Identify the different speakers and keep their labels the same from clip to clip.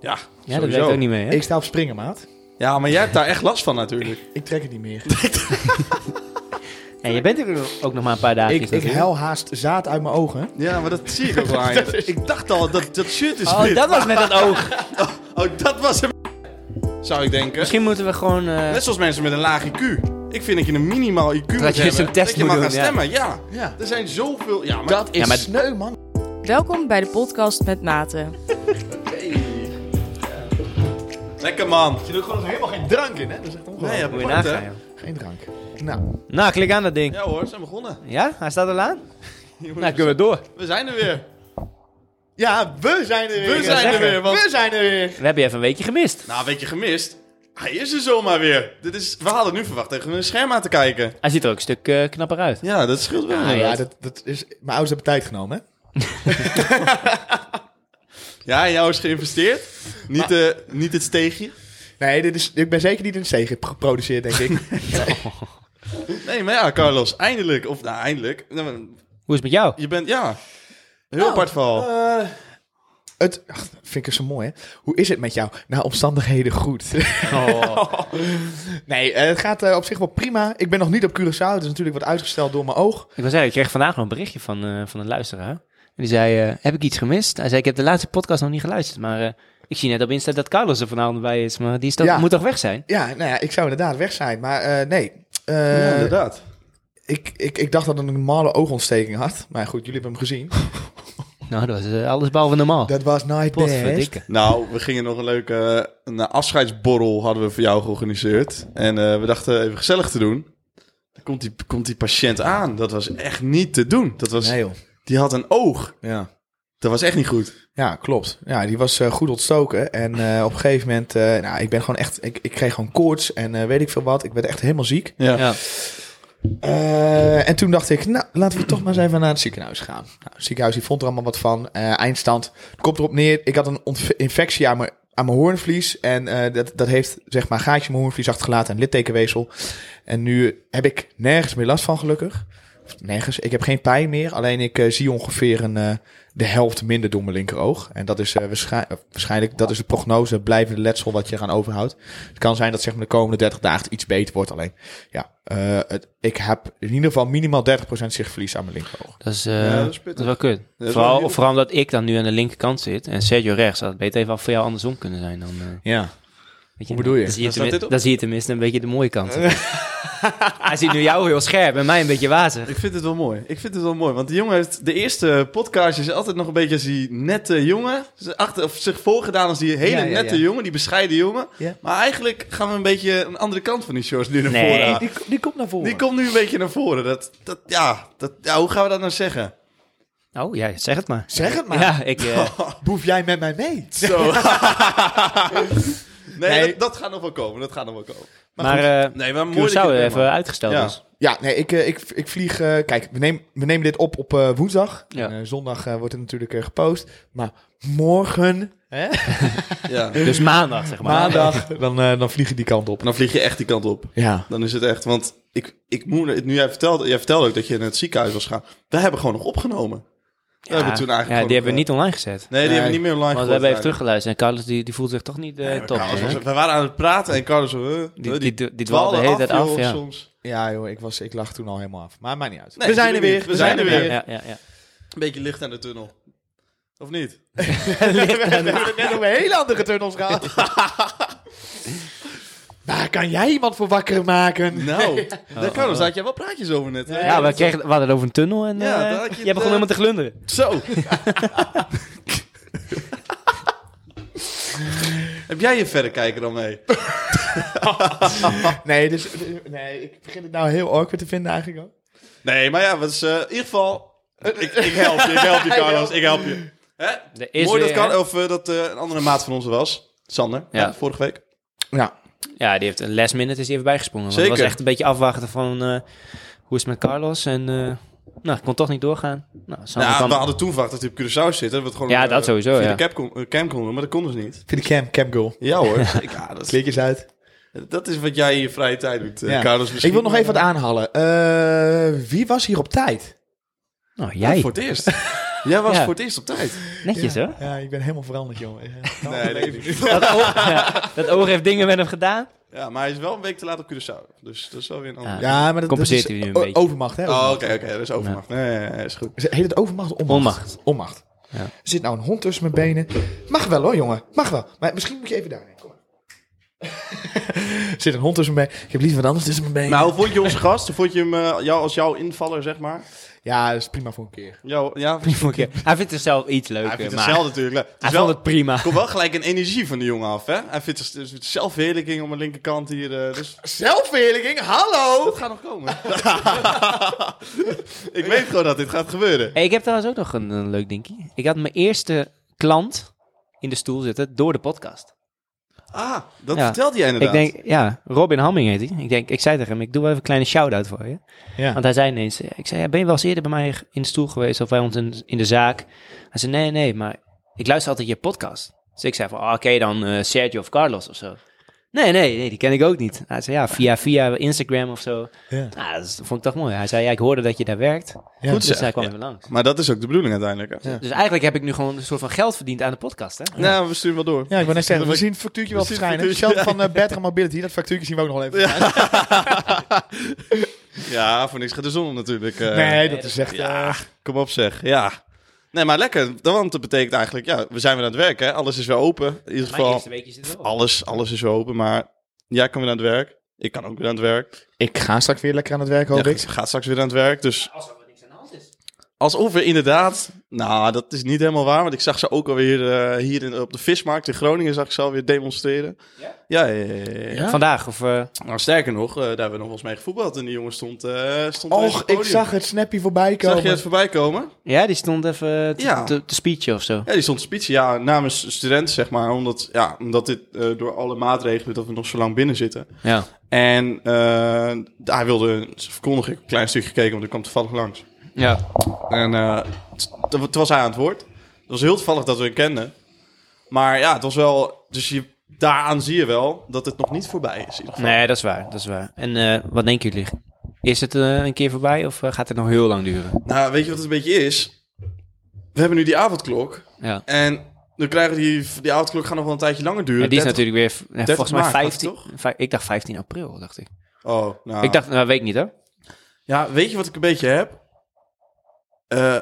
Speaker 1: Ja,
Speaker 2: Ja, dat
Speaker 1: sowieso.
Speaker 2: werkt ook niet mee, hè?
Speaker 3: Ik sta op springen, maat.
Speaker 1: Ja, maar jij hebt daar echt last van natuurlijk.
Speaker 3: Ik trek het niet meer.
Speaker 2: En je bent er ook nog maar een paar dagen.
Speaker 3: ik, ik huil haast zaad uit mijn ogen.
Speaker 1: Ja, maar dat zie ik ook wel aan je. Ik dacht al, dat, dat shirt is
Speaker 2: Oh,
Speaker 1: wit.
Speaker 2: dat was met dat oog.
Speaker 1: Oh, dat was hem. Zou ik denken.
Speaker 2: Misschien moeten we gewoon... eh,
Speaker 1: Net zoals mensen met een laag IQ. Ik vind dat je een minimaal IQ moet
Speaker 2: je eens
Speaker 1: hebben,
Speaker 2: een test
Speaker 1: dat je
Speaker 2: moet
Speaker 1: mag
Speaker 2: doen,
Speaker 1: gaan
Speaker 2: ja.
Speaker 1: stemmen. Ja.
Speaker 3: Ja.
Speaker 1: er zijn zoveel... Ja, maar
Speaker 3: Dat is
Speaker 2: Ja, maar-
Speaker 3: sneu, man.
Speaker 4: Welkom bij de podcast met Maten.
Speaker 1: lekker man.
Speaker 3: Je doet gewoon helemaal geen drank in, hè? Dat is echt
Speaker 1: Nee,
Speaker 2: moet
Speaker 1: apart,
Speaker 2: je
Speaker 1: hè?
Speaker 2: nagaan, joh.
Speaker 3: Geen drank. Nou,
Speaker 2: Nou, klik aan dat ding.
Speaker 1: Ja hoor, we zijn begonnen.
Speaker 2: Ja? Hij staat al aan? Nou, kunnen we door.
Speaker 1: We zijn er weer.
Speaker 3: ja, we zijn er weer.
Speaker 1: We zijn er
Speaker 2: zeggen.
Speaker 1: weer. Want...
Speaker 3: We zijn er weer.
Speaker 2: We hebben je even een weekje gemist.
Speaker 1: Nou, weet je gemist? Hij is er zomaar weer. Dit is... We hadden nu verwacht tegen een scherm aan te kijken.
Speaker 2: Hij ziet er ook een stuk eh, knapper uit.
Speaker 1: Ja, dat scheelt wel.
Speaker 2: ja,
Speaker 1: Ja,
Speaker 3: nou Ja,
Speaker 2: dat-
Speaker 3: dat, dat is, mijn ouders hebben tijd genomen, hè?
Speaker 1: ja in jou is geïnvesteerd. Niet, eh niet het steegje.
Speaker 3: Nee, dit is, ik ben zeker niet in C geproduceerd, denk ik.
Speaker 1: Nee, maar ja, Carlos, eindelijk. Of nou, eindelijk. Nou, maar
Speaker 2: Hoe is het met jou?
Speaker 1: Je bent, ja, heel apart verhaal.
Speaker 3: Eh, het, ach, vind ik zo mooi, hè? Hoe is het met jou? Nou, omstandigheden goed. nee, eh, het gaat eh, op zich wel prima. Ik ben nog niet op Curaçao. Het is natuurlijk wat uitgesteld door mijn oog.
Speaker 2: Ik wil zeggen, ik kreeg vandaag nog een berichtje van, eh, van een luisteraar. En die zei, eh, heb ik iets gemist? Hij zei, ik heb de laatste podcast nog niet geluisterd. Maar eh, ik zie net op Insta dat Carlos er vanavond bij is. Maar die is toch,
Speaker 3: Ja.
Speaker 2: moet toch weg zijn?
Speaker 3: Ja, nou ja, ik zou inderdaad weg zijn. Maar eh, nee, Eh,
Speaker 1: Ja, inderdaad.
Speaker 3: ik, ik, ik dacht dat ik een normale oogontsteking had. Maar goed, jullie hebben hem gezien.
Speaker 2: Nou, dat was eh, alles behalve normaal.
Speaker 3: Dat was night best.
Speaker 2: Potverdikke.
Speaker 1: Nou, we gingen nog een leuke eh, een eh, afscheidsborrel hadden we voor jou georganiseerd. En eh, we dachten even gezellig te doen. Dan komt die, komt die patiënt aan. Dat was echt niet te doen. Dat was,
Speaker 3: Nee joh.
Speaker 1: Die had een oog.
Speaker 3: Ja.
Speaker 1: Dat was echt niet goed.
Speaker 3: ja, klopt. Ja, die was eh, goed ontstoken. En eh, op een gegeven moment, eh, nou, ik ben gewoon echt, ik, ik kreeg gewoon koorts en eh, weet ik veel wat. Ik werd echt helemaal ziek.
Speaker 1: Ja.
Speaker 2: Ja.
Speaker 3: Eh, en toen dacht ik, nou, laten we toch maar eens even naar het ziekenhuis gaan. Nou, het ziekenhuis die vond er allemaal wat van. Eh, eindstand, het komt erop neer. Ik had een ontf- infectie aan mijn, aan mijn hoornvlies. En eh, dat, dat heeft, zeg maar, een gaatje in mijn hoornvlies achtergelaten. Een littekenweefsel. En nu heb ik nergens meer last van, gelukkig. Of nergens. Ik heb geen pijn meer. Alleen ik eh, zie ongeveer een, eh, de helft minder door mijn linkeroog. En dat is eh, waarschijn- eh, waarschijnlijk, dat is de prognose, het blijvende letsel wat je eraan overhoudt. Het kan zijn dat zeg maar, de komende 30 dagen het iets beter wordt. Alleen, ja, eh, het, ik heb in ieder geval minimaal 30% zichtverlies aan mijn linkeroog.
Speaker 2: Dat is,
Speaker 1: Ja,
Speaker 2: eh,
Speaker 1: dat is
Speaker 2: dat, is
Speaker 1: pittig.
Speaker 2: wel kut.
Speaker 1: Dat is wel
Speaker 2: vooral,
Speaker 1: heel-
Speaker 2: vooral omdat ik dan nu aan de linkerkant zit en Sergio rechts. Dat had beter even voor jou andersom kunnen zijn dan... eh,
Speaker 3: Ja.
Speaker 2: weet
Speaker 3: Hoe bedoel je?
Speaker 2: Dan zie je,
Speaker 1: Waar staat
Speaker 2: tenmin-
Speaker 1: dit op?
Speaker 2: dan zie je tenminste een beetje de mooie kant. Hij ziet nu jou heel scherp en mij een beetje wazig.
Speaker 1: Ik vind het wel mooi. Ik vind het wel mooi. Want die jongen heeft de eerste podcastje is altijd nog een beetje als die nette jongen. Ze Achter, of zich voorgedaan als die hele
Speaker 2: Ja, ja,
Speaker 1: nette
Speaker 2: ja.
Speaker 1: jongen, die bescheiden jongen.
Speaker 3: Ja.
Speaker 1: Maar eigenlijk gaan we een beetje een andere kant van die shorts nu naar
Speaker 2: Nee.
Speaker 1: voren halen.
Speaker 3: Die, die komt naar voren.
Speaker 1: Die komt nu een beetje naar voren. Dat, dat, ja, dat, ja, hoe gaan we dat nou zeggen?
Speaker 2: Oh ja, zeg het maar.
Speaker 3: Zeg het maar.
Speaker 2: Ja, ik... eh,
Speaker 3: Boef jij met mij mee?
Speaker 1: Zo. nee,
Speaker 3: Nee.
Speaker 1: Dat, dat gaat nog wel komen. Dat gaat nog wel komen.
Speaker 2: Maar, eh
Speaker 1: Nee, maar mooi dat
Speaker 2: Curaçao
Speaker 1: je er bent,
Speaker 2: even
Speaker 1: man.
Speaker 2: uitgesteld dus.
Speaker 1: Ja.
Speaker 2: is.
Speaker 3: Ja, nee, ik, eh, ik, ik vlieg... eh, kijk, we, neem, we nemen dit op op eh, woensdag.
Speaker 2: Ja.
Speaker 3: En, eh, zondag eh, wordt het natuurlijk eh, gepost. Maar morgen, hè?
Speaker 1: Ja.
Speaker 2: Dus maandag, zeg maar.
Speaker 3: maandag, dan, eh, dan vlieg je die kant op.
Speaker 1: Dan vlieg je echt die kant op.
Speaker 3: Ja.
Speaker 1: Dan is het echt. Want ik, ik moet het nu jij vertelde, jij vertelde ook dat je naar het ziekenhuis was gaan. We hebben gewoon nog opgenomen. We hebben toen eigenlijk.
Speaker 2: ja, die
Speaker 1: gewoon
Speaker 2: hebben
Speaker 1: nog,
Speaker 2: we niet online gezet.
Speaker 1: eh, Nee, die
Speaker 3: Nee.
Speaker 1: hebben we niet meer online
Speaker 2: Want we
Speaker 1: gegooid
Speaker 2: hebben even
Speaker 1: eigenlijk.
Speaker 2: teruggeluisterd. En Carlos die, die voelt zich toch niet eh,
Speaker 1: Nee, maar
Speaker 2: top.
Speaker 1: Carlos
Speaker 2: hè?
Speaker 1: was- we waren aan het praten en Carlos. eh, eh,
Speaker 2: die, die, die, die dwaalde
Speaker 1: dwaalde
Speaker 2: de hele tijd af,
Speaker 1: joh,
Speaker 2: ja.
Speaker 1: soms.
Speaker 3: Ja, joh, ik, was, ik lag toen al helemaal af. Maar maakt niet uit.
Speaker 1: Nee, natuurlijk niet. We zijn er weer.
Speaker 2: Ja, ja, ja.
Speaker 1: Een beetje licht aan de tunnel. Of niet?
Speaker 3: We hebben het net over hele andere tunnels gehad. Waar kan jij iemand voor wakker maken?
Speaker 1: Nou, daar Carlos,
Speaker 2: oh.
Speaker 1: daar had jij wel praatjes over net. hè?
Speaker 2: Ja, we, kregen, we hadden het over een tunnel en
Speaker 1: Ja,
Speaker 2: eh,
Speaker 1: daar had je
Speaker 2: jij
Speaker 1: het,
Speaker 2: begon helemaal te glunderen.
Speaker 1: Zo. Heb jij je verrekijker dan mee?
Speaker 3: Nee, dus, nee, ik begin het nou heel awkward te vinden eigenlijk ook.
Speaker 1: Nee, maar ja, wat is, eh, in ieder geval... eh, Ik, ik help je, ik help je, Carlos. Ik help je. Hè?
Speaker 2: Er is
Speaker 1: Mooi dat,
Speaker 2: weer, hè?
Speaker 1: Carlos, of, eh, dat eh, een andere maat van ons er was. Sander,
Speaker 2: Ja.
Speaker 1: hè, vorige week.
Speaker 3: Ja,
Speaker 2: Ja, die heeft een last minute is die even bijgesprongen. Want het
Speaker 1: Zeker.
Speaker 2: was echt een beetje afwachten van eh, hoe is het met Carlos. En eh, nou, ik kon toch niet doorgaan. Nou, Sander
Speaker 1: Ja,
Speaker 2: kwam-
Speaker 1: we hadden toen verwacht dat hij op Curaçao zit. Hè, wat gewoon,
Speaker 2: Ja,
Speaker 1: eh,
Speaker 2: dat sowieso,
Speaker 1: via
Speaker 2: ja.
Speaker 1: de cap kon, eh, cam kon doen, maar dat konden ze niet.
Speaker 3: vind ik cam, cam goal.
Speaker 1: Ja hoor. Ik- ja, dat, is,
Speaker 3: Klikjes uit.
Speaker 1: dat is wat jij in je vrije tijd doet, eh,
Speaker 3: Ja.
Speaker 1: Carlos.
Speaker 3: Ik wil nog even wat aanhalen. Eh, wie was hier op tijd?
Speaker 2: nou, jij.
Speaker 1: Voor het eerst. Jij was
Speaker 2: Ja.
Speaker 1: voor het eerst op tijd.
Speaker 2: Netjes
Speaker 3: ja.
Speaker 2: hoor.
Speaker 3: Ja, ik ben helemaal veranderd, jongen. Ja,
Speaker 1: Nee, dat is niet.
Speaker 2: Dat oog, ja, dat oog heeft dingen met hem gedaan.
Speaker 1: Ja, maar hij is wel een week te laat op Curaçao. Dus dat is wel weer een ander.
Speaker 2: Ja.
Speaker 3: Ja, maar dat, dat
Speaker 2: Compenseert
Speaker 3: is
Speaker 2: hij nu een
Speaker 3: o-
Speaker 2: beetje.
Speaker 3: overmacht, hè?
Speaker 1: Oh,
Speaker 3: overmacht.
Speaker 1: oké, oké. Dat is overmacht. Nee, nee, nee, is goed.
Speaker 3: Is- Heet het overmacht of onmacht?
Speaker 2: Onmacht.
Speaker 3: Onmacht.
Speaker 2: Ja.
Speaker 3: Er zit nou een hond tussen mijn benen. Mag wel hoor, jongen. Mag wel. Maar misschien moet je even daarheen. Kom maar. er zit een hond tussen mijn benen. Ik heb liever wat anders tussen mijn benen.
Speaker 1: Maar hoe vond je onze gast? Hoe Vond je hem eh, jou, als jouw invaller, zeg maar?
Speaker 3: Ja, dat is prima voor een keer.
Speaker 1: Jou, ja,
Speaker 2: Die vond ik- Hij vindt zichzelf iets leuker.
Speaker 1: hij vindt het
Speaker 2: maar
Speaker 1: zelf natuurlijk leuk. Het
Speaker 2: hij
Speaker 1: is wel,
Speaker 2: vond het prima.
Speaker 1: er komt wel gelijk een energie van de jongen af, hè? Hij vindt het- het is zelfverheerlijking om de linkerkant hier. eh, dus
Speaker 3: Zelfverheerlijking, hallo!
Speaker 1: dat gaat nog komen. ik weet gewoon dat dit gaat gebeuren.
Speaker 2: Hey, ik heb trouwens ook nog een, een leuk dinkie. Ik had mijn eerste klant in de stoel zitten door de podcast.
Speaker 1: Ah, dat
Speaker 2: Ja.
Speaker 1: vertelde jij inderdaad.
Speaker 2: Ik denk, ja, Robin Hamming heet hij. Ik denk, ik zei tegen hem, ik doe wel even een kleine shout-out voor je.
Speaker 3: Ja.
Speaker 2: Want hij zei ineens, eh, ik zei, ja, ben je wel eens eerder bij mij in de stoel geweest of bij ons in, in de zaak? Hij zei, nee, nee, maar ik luister altijd je podcast. Dus ik zei van, oh, oké, dan eh, Sergio of Carlos of zo. Nee, nee, nee, die ken ik ook niet. Hij zei, ja, via, via Instagram of zo.
Speaker 3: Ja.
Speaker 2: Nou, dat is- vond ik toch mooi. Hij zei, ja, ik hoorde dat je daar werkt.
Speaker 3: Ja.
Speaker 1: Goed
Speaker 2: Dus
Speaker 1: zeg.
Speaker 2: hij kwam
Speaker 1: Ja.
Speaker 2: even langs.
Speaker 1: Maar dat is ook de bedoeling uiteindelijk. Hè?
Speaker 3: Ja.
Speaker 2: Dus eigenlijk heb ik nu gewoon een soort van geld verdiend aan de podcast, hè?
Speaker 1: Nou, we sturen wel door.
Speaker 3: Ja, ik wil net zeggen, we
Speaker 1: Dat
Speaker 3: zien het factuurtje wel
Speaker 1: we zien het
Speaker 3: verschijnen.
Speaker 1: factuurtje,
Speaker 3: Hetzelfde van eh, Better Mobility, dat factuurtje zien we ook nog wel even.
Speaker 1: Ja, voor niks gaat de zon om natuurlijk. eh.
Speaker 3: nee, dat is echt...
Speaker 1: ja.
Speaker 3: eh,
Speaker 1: Kom op zeg, ja. Nee, maar lekker. Want dat betekent eigenlijk, ja, we zijn weer aan het werk, hè. Alles is weer open. In ieder
Speaker 2: Mijn
Speaker 1: geval,
Speaker 2: eerste weekje zit erop.
Speaker 1: alles, alles is weer open. Maar jij kan weer aan het werk. Ik kan ook weer aan het werk.
Speaker 3: Ik ga straks weer lekker aan het werk, hoop
Speaker 1: Ja,
Speaker 3: ik.
Speaker 1: gaat straks weer aan het werk. Dus
Speaker 2: Als er niks aan de hand is.
Speaker 1: alsof we inderdaad... Nou, dat is niet helemaal waar. Want ik zag ze ook alweer eh, hier in, op de vismarkt in Groningen... zag ik ze alweer demonstreren.
Speaker 2: Ja?
Speaker 1: Ja, ja, ja, ja, ja.
Speaker 3: Ja?
Speaker 2: Vandaag of... eh,
Speaker 1: Nou, sterker nog, eh, daar hebben we nog wel eens mee gevoetbald. En die jongen stond, eh stond ineens op
Speaker 3: Och,
Speaker 1: het
Speaker 3: ik
Speaker 1: podium.
Speaker 3: zag het snappy voorbij
Speaker 1: Zag je
Speaker 3: komen.
Speaker 1: het voorbij komen?
Speaker 2: Ja, die stond even te,
Speaker 1: Ja.
Speaker 2: te, te speechen of zo.
Speaker 1: Ja, die stond te speechen, ja, namens studenten, zeg maar. Omdat, ja, omdat dit eh, door alle maatregelen dat we nog zo lang binnen zitten.
Speaker 2: Ja.
Speaker 1: En eh, hij wilde ze verkondigen. Ik heb een klein stukje gekeken, want ik kwam toevallig langs.
Speaker 2: Ja.
Speaker 1: En eh, t- t- toen was hij aan het woord. Het was heel toevallig dat we hem kenden. Maar ja, het was wel... Dus je, daaraan zie je wel dat het nog niet voorbij is. in ieder geval.
Speaker 2: Nee, dat is waar. Dat is waar. En eh, wat denken jullie? Is het eh, een keer voorbij of eh, gaat het nog heel lang duren?
Speaker 1: Nou, weet je wat het een beetje is? We hebben nu die avondklok.
Speaker 2: Ja.
Speaker 1: En dan krijgen we die, die avondklok gaat nog wel een tijdje langer duren.
Speaker 2: En die is
Speaker 1: 30
Speaker 2: natuurlijk weer, eh,
Speaker 1: 30
Speaker 2: volgens mij
Speaker 1: maart,
Speaker 2: 15...
Speaker 1: was
Speaker 2: vij- ik dacht 15 april, dacht ik.
Speaker 1: Oh, nou.
Speaker 2: Ik dacht, nou, weet ik niet, hè?
Speaker 1: Ja, weet je wat ik een beetje heb? Eh,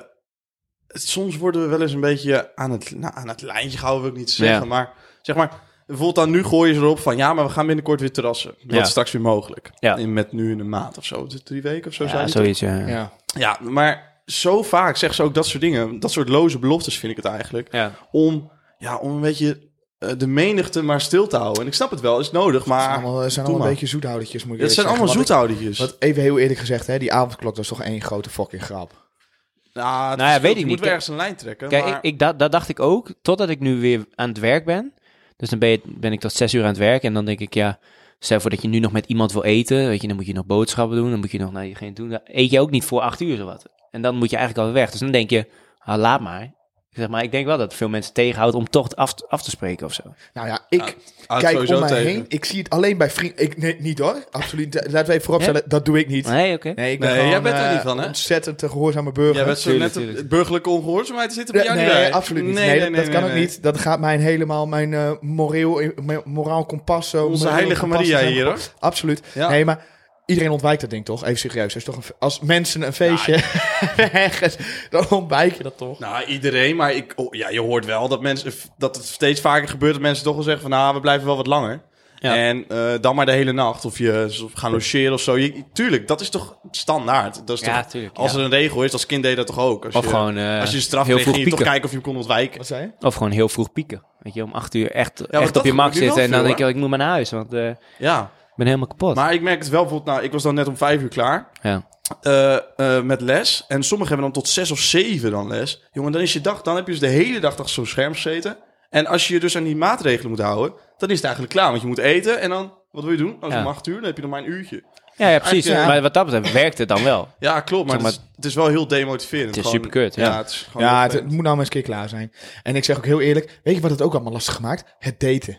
Speaker 1: het- soms worden we wel eens een beetje aan het, nou, aan het lijntje gehouden, wil ik niet zeggen.
Speaker 2: Ja.
Speaker 1: Maar zeg maar, bijvoorbeeld dan nu gooien ze erop van... ja, maar we gaan binnenkort weer terrassen. Dat
Speaker 2: Ja.
Speaker 1: is straks weer mogelijk.
Speaker 2: Ja.
Speaker 1: In, met nu in een maand of zo. De Drie weken of zo, zei
Speaker 2: Ja,
Speaker 1: die
Speaker 2: zoiets, ja. ja.
Speaker 3: Ja.
Speaker 1: toch? Ja, maar zo vaak zeggen ze ook dat soort dingen. Dat soort loze beloftes vind ik het eigenlijk. Om, ja, om een beetje eh, de menigte maar stil te houden. En ik snap het wel, is nodig,
Speaker 3: Het zijn
Speaker 1: maar...
Speaker 3: allemaal, het
Speaker 1: doe
Speaker 3: zijn allemaal een
Speaker 1: maar.
Speaker 3: beetje zoethoudertjes, moet ik
Speaker 1: Het zijn
Speaker 3: eerlijk
Speaker 1: allemaal
Speaker 3: zeggen.
Speaker 1: zoethoudertjes.
Speaker 3: Want ik- Wat even heel eerlijk gezegd, hè, die avondklok dat is toch één grote fucking grap.
Speaker 1: Nou, het
Speaker 2: Nou ja,
Speaker 1: verschilt.
Speaker 2: weet ik
Speaker 1: je
Speaker 2: niet.
Speaker 1: moet wel ergens een lijn trekken.
Speaker 2: Kijk,
Speaker 1: maar...
Speaker 2: ik, ik, dat, dat dacht ik ook, totdat ik nu weer aan het werk ben. Dus dan ben, je, ben ik tot zes uur aan het werk en dan denk ik, ja... Stel voor dat je nu nog met iemand wil eten, weet je, dan moet je nog boodschappen doen, dan moet je nog naar diegene doen. Dan eet je ook niet voor acht uur zowat. En dan moet je eigenlijk alweer weg. Dus dan denk je, ah, laat maar. Ik Zeg maar, ik denk wel dat het veel mensen tegenhoudt om toch af, af te spreken of zo.
Speaker 3: Nou ja, ik
Speaker 1: Ah, het
Speaker 3: kijk
Speaker 1: sowieso
Speaker 3: om mij
Speaker 1: tegen.
Speaker 3: heen. Ik zie het alleen bij vrienden. Ik, nee, niet hoor. Absoluut. niet. Laten we even vooropstellen, dat doe ik niet.
Speaker 2: Nee, oké.
Speaker 3: Nee, ik ben
Speaker 1: Nee,
Speaker 3: gewoon,
Speaker 1: jij bent er
Speaker 3: eh,
Speaker 1: niet van, hè?
Speaker 3: ontzettend eh, gehoorzame burger.
Speaker 1: Jij bent zo
Speaker 2: Tuurlijk,
Speaker 1: net op
Speaker 2: tuurlijk.
Speaker 1: burgerlijke ongehoorzaamheid zitten bij
Speaker 3: nee,
Speaker 1: jou
Speaker 3: nee,
Speaker 1: niet bij.
Speaker 3: absoluut niet. Nee, dat, dat kan ook
Speaker 1: nee.
Speaker 3: niet. Dat gaat mijn helemaal, mijn eh, moreel, mijn moraal kompas. zo,
Speaker 1: Onze
Speaker 3: moreel
Speaker 1: heilige
Speaker 3: kompas
Speaker 1: Maria
Speaker 3: is
Speaker 1: hier, hoor.
Speaker 3: helemaal- Absoluut.
Speaker 1: Ja.
Speaker 3: Nee, maar iedereen ontwijkt dat ding toch? Even serieus. Als, toch een, als mensen een feestje ergens, dan ontwijk je dat toch?
Speaker 1: Nou, iedereen, maar ik, oh, ja, je hoort wel dat, mensen, dat het steeds vaker gebeurt dat mensen toch wel zeggen van, nou, we blijven wel wat langer.
Speaker 2: Ja.
Speaker 1: En eh, dan maar de hele nacht. Of je of gaan logeren of zo. Je- tuurlijk, dat is toch standaard. Dat is
Speaker 2: Ja,
Speaker 1: toch,
Speaker 2: tuurlijk,
Speaker 1: als
Speaker 2: ja.
Speaker 1: er een regel is, als kind deed dat toch ook. Als
Speaker 2: Of
Speaker 1: je,
Speaker 2: gewoon, eh,
Speaker 1: als je straf
Speaker 2: heel
Speaker 1: kreeg,
Speaker 2: vroeg
Speaker 1: ging je toch
Speaker 2: pieken.
Speaker 1: kijken of je hem kon ontwijken.
Speaker 3: Wat zei je?
Speaker 2: Of gewoon heel vroeg pieken. Weet je, om acht uur echt,
Speaker 1: maar
Speaker 2: echt
Speaker 1: dat
Speaker 2: op je mak
Speaker 1: gebeurt nu wel
Speaker 2: zitten. En dan
Speaker 1: veel,
Speaker 2: denk je, "Oh, ik moet maar naar huis, want eh,
Speaker 1: Ja,
Speaker 2: ik ben helemaal kapot.
Speaker 1: maar ik merk het wel. Bijvoorbeeld, nou, ik was dan net om vijf uur klaar.
Speaker 2: ja.
Speaker 1: eh, eh, met les. En sommigen hebben dan tot zes of zeven dan les. Jongen, dan is je dag, dan heb je dus de hele dag achter zo'n scherm gezeten. En als je je dus aan die maatregelen moet houden, dan is het eigenlijk klaar. Want je moet eten en dan, wat wil je doen? Als
Speaker 2: Ja.
Speaker 1: om acht uur, dan heb je nog maar een uurtje.
Speaker 2: Ja, ja, precies.
Speaker 1: Eigenlijk, ja.
Speaker 2: Maar wat dat betreft werkt het dan wel.
Speaker 1: Ja, klopt. Maar,
Speaker 2: Zeg maar-
Speaker 1: het, is, het is wel heel demotiverend.
Speaker 2: Het is
Speaker 1: Gewoon-
Speaker 2: superkut, ja.
Speaker 1: het is gewoon heel
Speaker 3: Ja, het, het
Speaker 1: vervelend.
Speaker 3: moet nou maar eens een keer klaar zijn. En ik zeg ook heel eerlijk, weet je wat het ook allemaal lastig maakt? Het daten.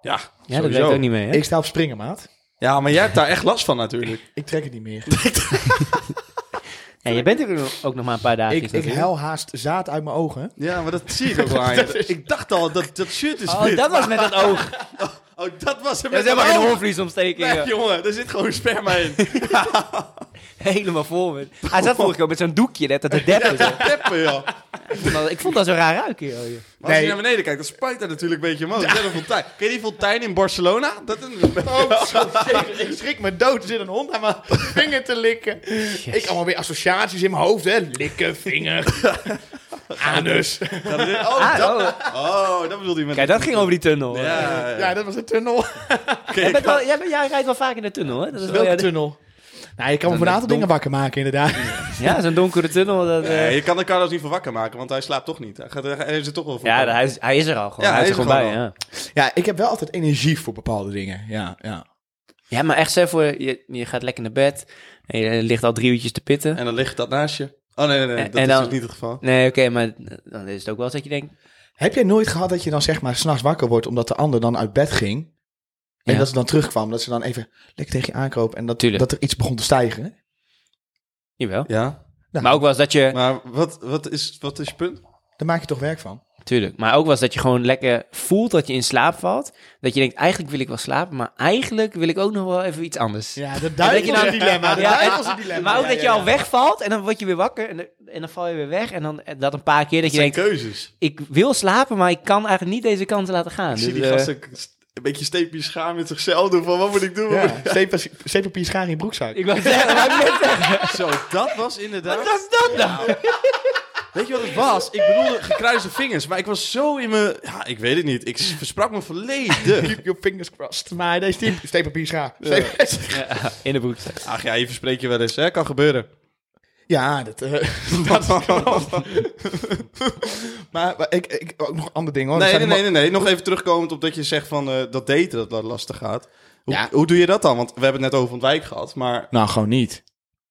Speaker 1: ja,
Speaker 2: Ja, dat
Speaker 1: sowieso.
Speaker 2: werkt ook niet mee, hè?
Speaker 3: Ik sta op springen, maat.
Speaker 1: Ja, maar jij hebt daar echt last van natuurlijk.
Speaker 3: Ik trek het niet meer.
Speaker 2: En je bent er ook nog maar een paar dagen.
Speaker 3: Ik, ik huil haast zaad uit mijn ogen.
Speaker 1: Ja, maar dat zie ik ook wel aan je. Ik dacht al, dat, dat shirt is
Speaker 2: Oh,
Speaker 1: wit.
Speaker 2: dat was met het oog. Dat
Speaker 1: Oh, dat was hem.
Speaker 2: is helemaal geen hoorvliesomsteking.
Speaker 1: Nee, jongen, er zit gewoon sperma in.
Speaker 2: Helemaal vol met. Hij zat vorige keer ook met zo'n doekje net dat het dep is. hè.
Speaker 1: Teppen, joh.
Speaker 2: Ik vond dat- Ik vond dat zo raar ruiken. joh, joh.
Speaker 1: Maar als je
Speaker 3: Nee.
Speaker 1: naar beneden kijkt, dan spuit daar natuurlijk een beetje omhoog. Net een fontein. Ken je die fontein in Barcelona? Dat is
Speaker 3: ik schrik me dood. Er zit een hond aan mijn vinger te likken. Ik allemaal weer associaties in mijn hoofd. Hè. Likken, vinger, anus.
Speaker 1: Oh,
Speaker 2: Ah,
Speaker 1: dat,
Speaker 2: oh.
Speaker 1: oh, dat bedoelde je met...
Speaker 2: Kijk, dat ging over die tunnel.
Speaker 1: Ja,
Speaker 2: hoor.
Speaker 1: ja, ja.
Speaker 3: Ja, dat was een tunnel.
Speaker 1: Oké,
Speaker 2: Jij,
Speaker 1: ik
Speaker 2: bent
Speaker 1: had-
Speaker 2: wel, jij, bent- jij rijdt wel vaak in de tunnel, hè? Dat is wel
Speaker 3: Welke
Speaker 2: jouw-
Speaker 3: tunnel? Nou, je kan me
Speaker 2: Dat
Speaker 3: van een
Speaker 2: is
Speaker 3: aantal dingen wakker maken, inderdaad.
Speaker 2: Ja, zo'n donkere tunnel. Dat, eh,
Speaker 1: Nee, je kan de Carlos niet voor wakker maken, want hij slaapt toch niet. Hij, gaat, hij is er toch wel voor.
Speaker 2: Ja, hij is, hij is er al gewoon.
Speaker 1: Ja,
Speaker 2: hij is er
Speaker 1: hij
Speaker 2: gewoon
Speaker 1: is er
Speaker 2: bij, ja.
Speaker 3: Ja, ik heb wel altijd energie voor bepaalde dingen. Ja, ja.
Speaker 2: Ja, maar echt, zeg voor, je, je gaat lekker naar bed en je ligt al drie uurtjes te pitten.
Speaker 1: En dan ligt dat naast je. Oh, nee, nee, nee.
Speaker 2: En-
Speaker 1: Dat
Speaker 2: en
Speaker 1: is
Speaker 2: dan-
Speaker 1: dus niet het geval.
Speaker 2: Nee, oké, maar dan is het ook wel eens dat je denkt...
Speaker 3: Heb jij nooit gehad dat je dan zeg maar s'nachts wakker wordt omdat de ander dan uit bed ging? En
Speaker 2: Ja.
Speaker 3: dat ze dan terugkwam, dat ze dan even lekker tegen je aankroop en dat,
Speaker 2: Tuurlijk.
Speaker 3: dat er iets begon te stijgen.
Speaker 2: Jawel.
Speaker 1: Ja,
Speaker 2: Maar ook was dat je...
Speaker 1: maar wat, wat, is, wat is je punt?
Speaker 3: Daar maak je toch werk van?
Speaker 2: Tuurlijk. Maar ook was dat je gewoon lekker voelt dat je in slaap valt. Dat je denkt, eigenlijk wil ik wel slapen, maar eigenlijk wil ik ook nog wel even iets anders.
Speaker 3: Ja, dat
Speaker 2: duivelse je nou-
Speaker 3: dilemma.
Speaker 2: dat Ja, duivelse
Speaker 3: dilemma.
Speaker 2: Maar ook dat je al wegvalt en dan word je weer wakker en, dan- en dan val je weer weg. En dan en dat een paar keer dat
Speaker 1: Het
Speaker 2: je
Speaker 1: zijn
Speaker 2: denkt,
Speaker 1: keuzes.
Speaker 2: ik wil slapen, maar ik kan eigenlijk niet deze kant laten gaan.
Speaker 1: Ik zie die
Speaker 2: Dus, eh,
Speaker 1: gasten st- een beetje steepjes schaam met zichzelf doen van wat moet ik doen?
Speaker 3: Ja, zeepa- zeepapier schaar in je broekzak.
Speaker 2: Ik wou zeggen, wou ik net zeggen,
Speaker 1: Zo, dat was inderdaad...
Speaker 2: wat was dat nou?
Speaker 1: Weet je wat het was? Ik bedoelde gekruiste vingers, maar ik was zo in mijn... Ja, ik weet het niet. Ik s- versprak me volledig.
Speaker 3: Keep your fingers crossed. Maar deze team, steepapier schaar.
Speaker 2: Ja, in de broekzak.
Speaker 1: Ach ja, je verspreekt je wel eens, hè? Kan gebeuren.
Speaker 3: Ja, dat, eh, dat
Speaker 1: Oh,
Speaker 3: klopt. maar maar ik, ik, ook nog andere dingen hoor. Er
Speaker 1: nee, nee,
Speaker 3: zijn
Speaker 1: nee,
Speaker 3: nog-
Speaker 1: nee, nee. Nog even terugkomend op dat je zegt van eh, dat daten dat dat lastig gaat. Hoe,
Speaker 3: Ja.
Speaker 1: hoe doe je dat dan? Want we hebben het net over ontwijk gehad, maar
Speaker 3: Nou, gewoon niet.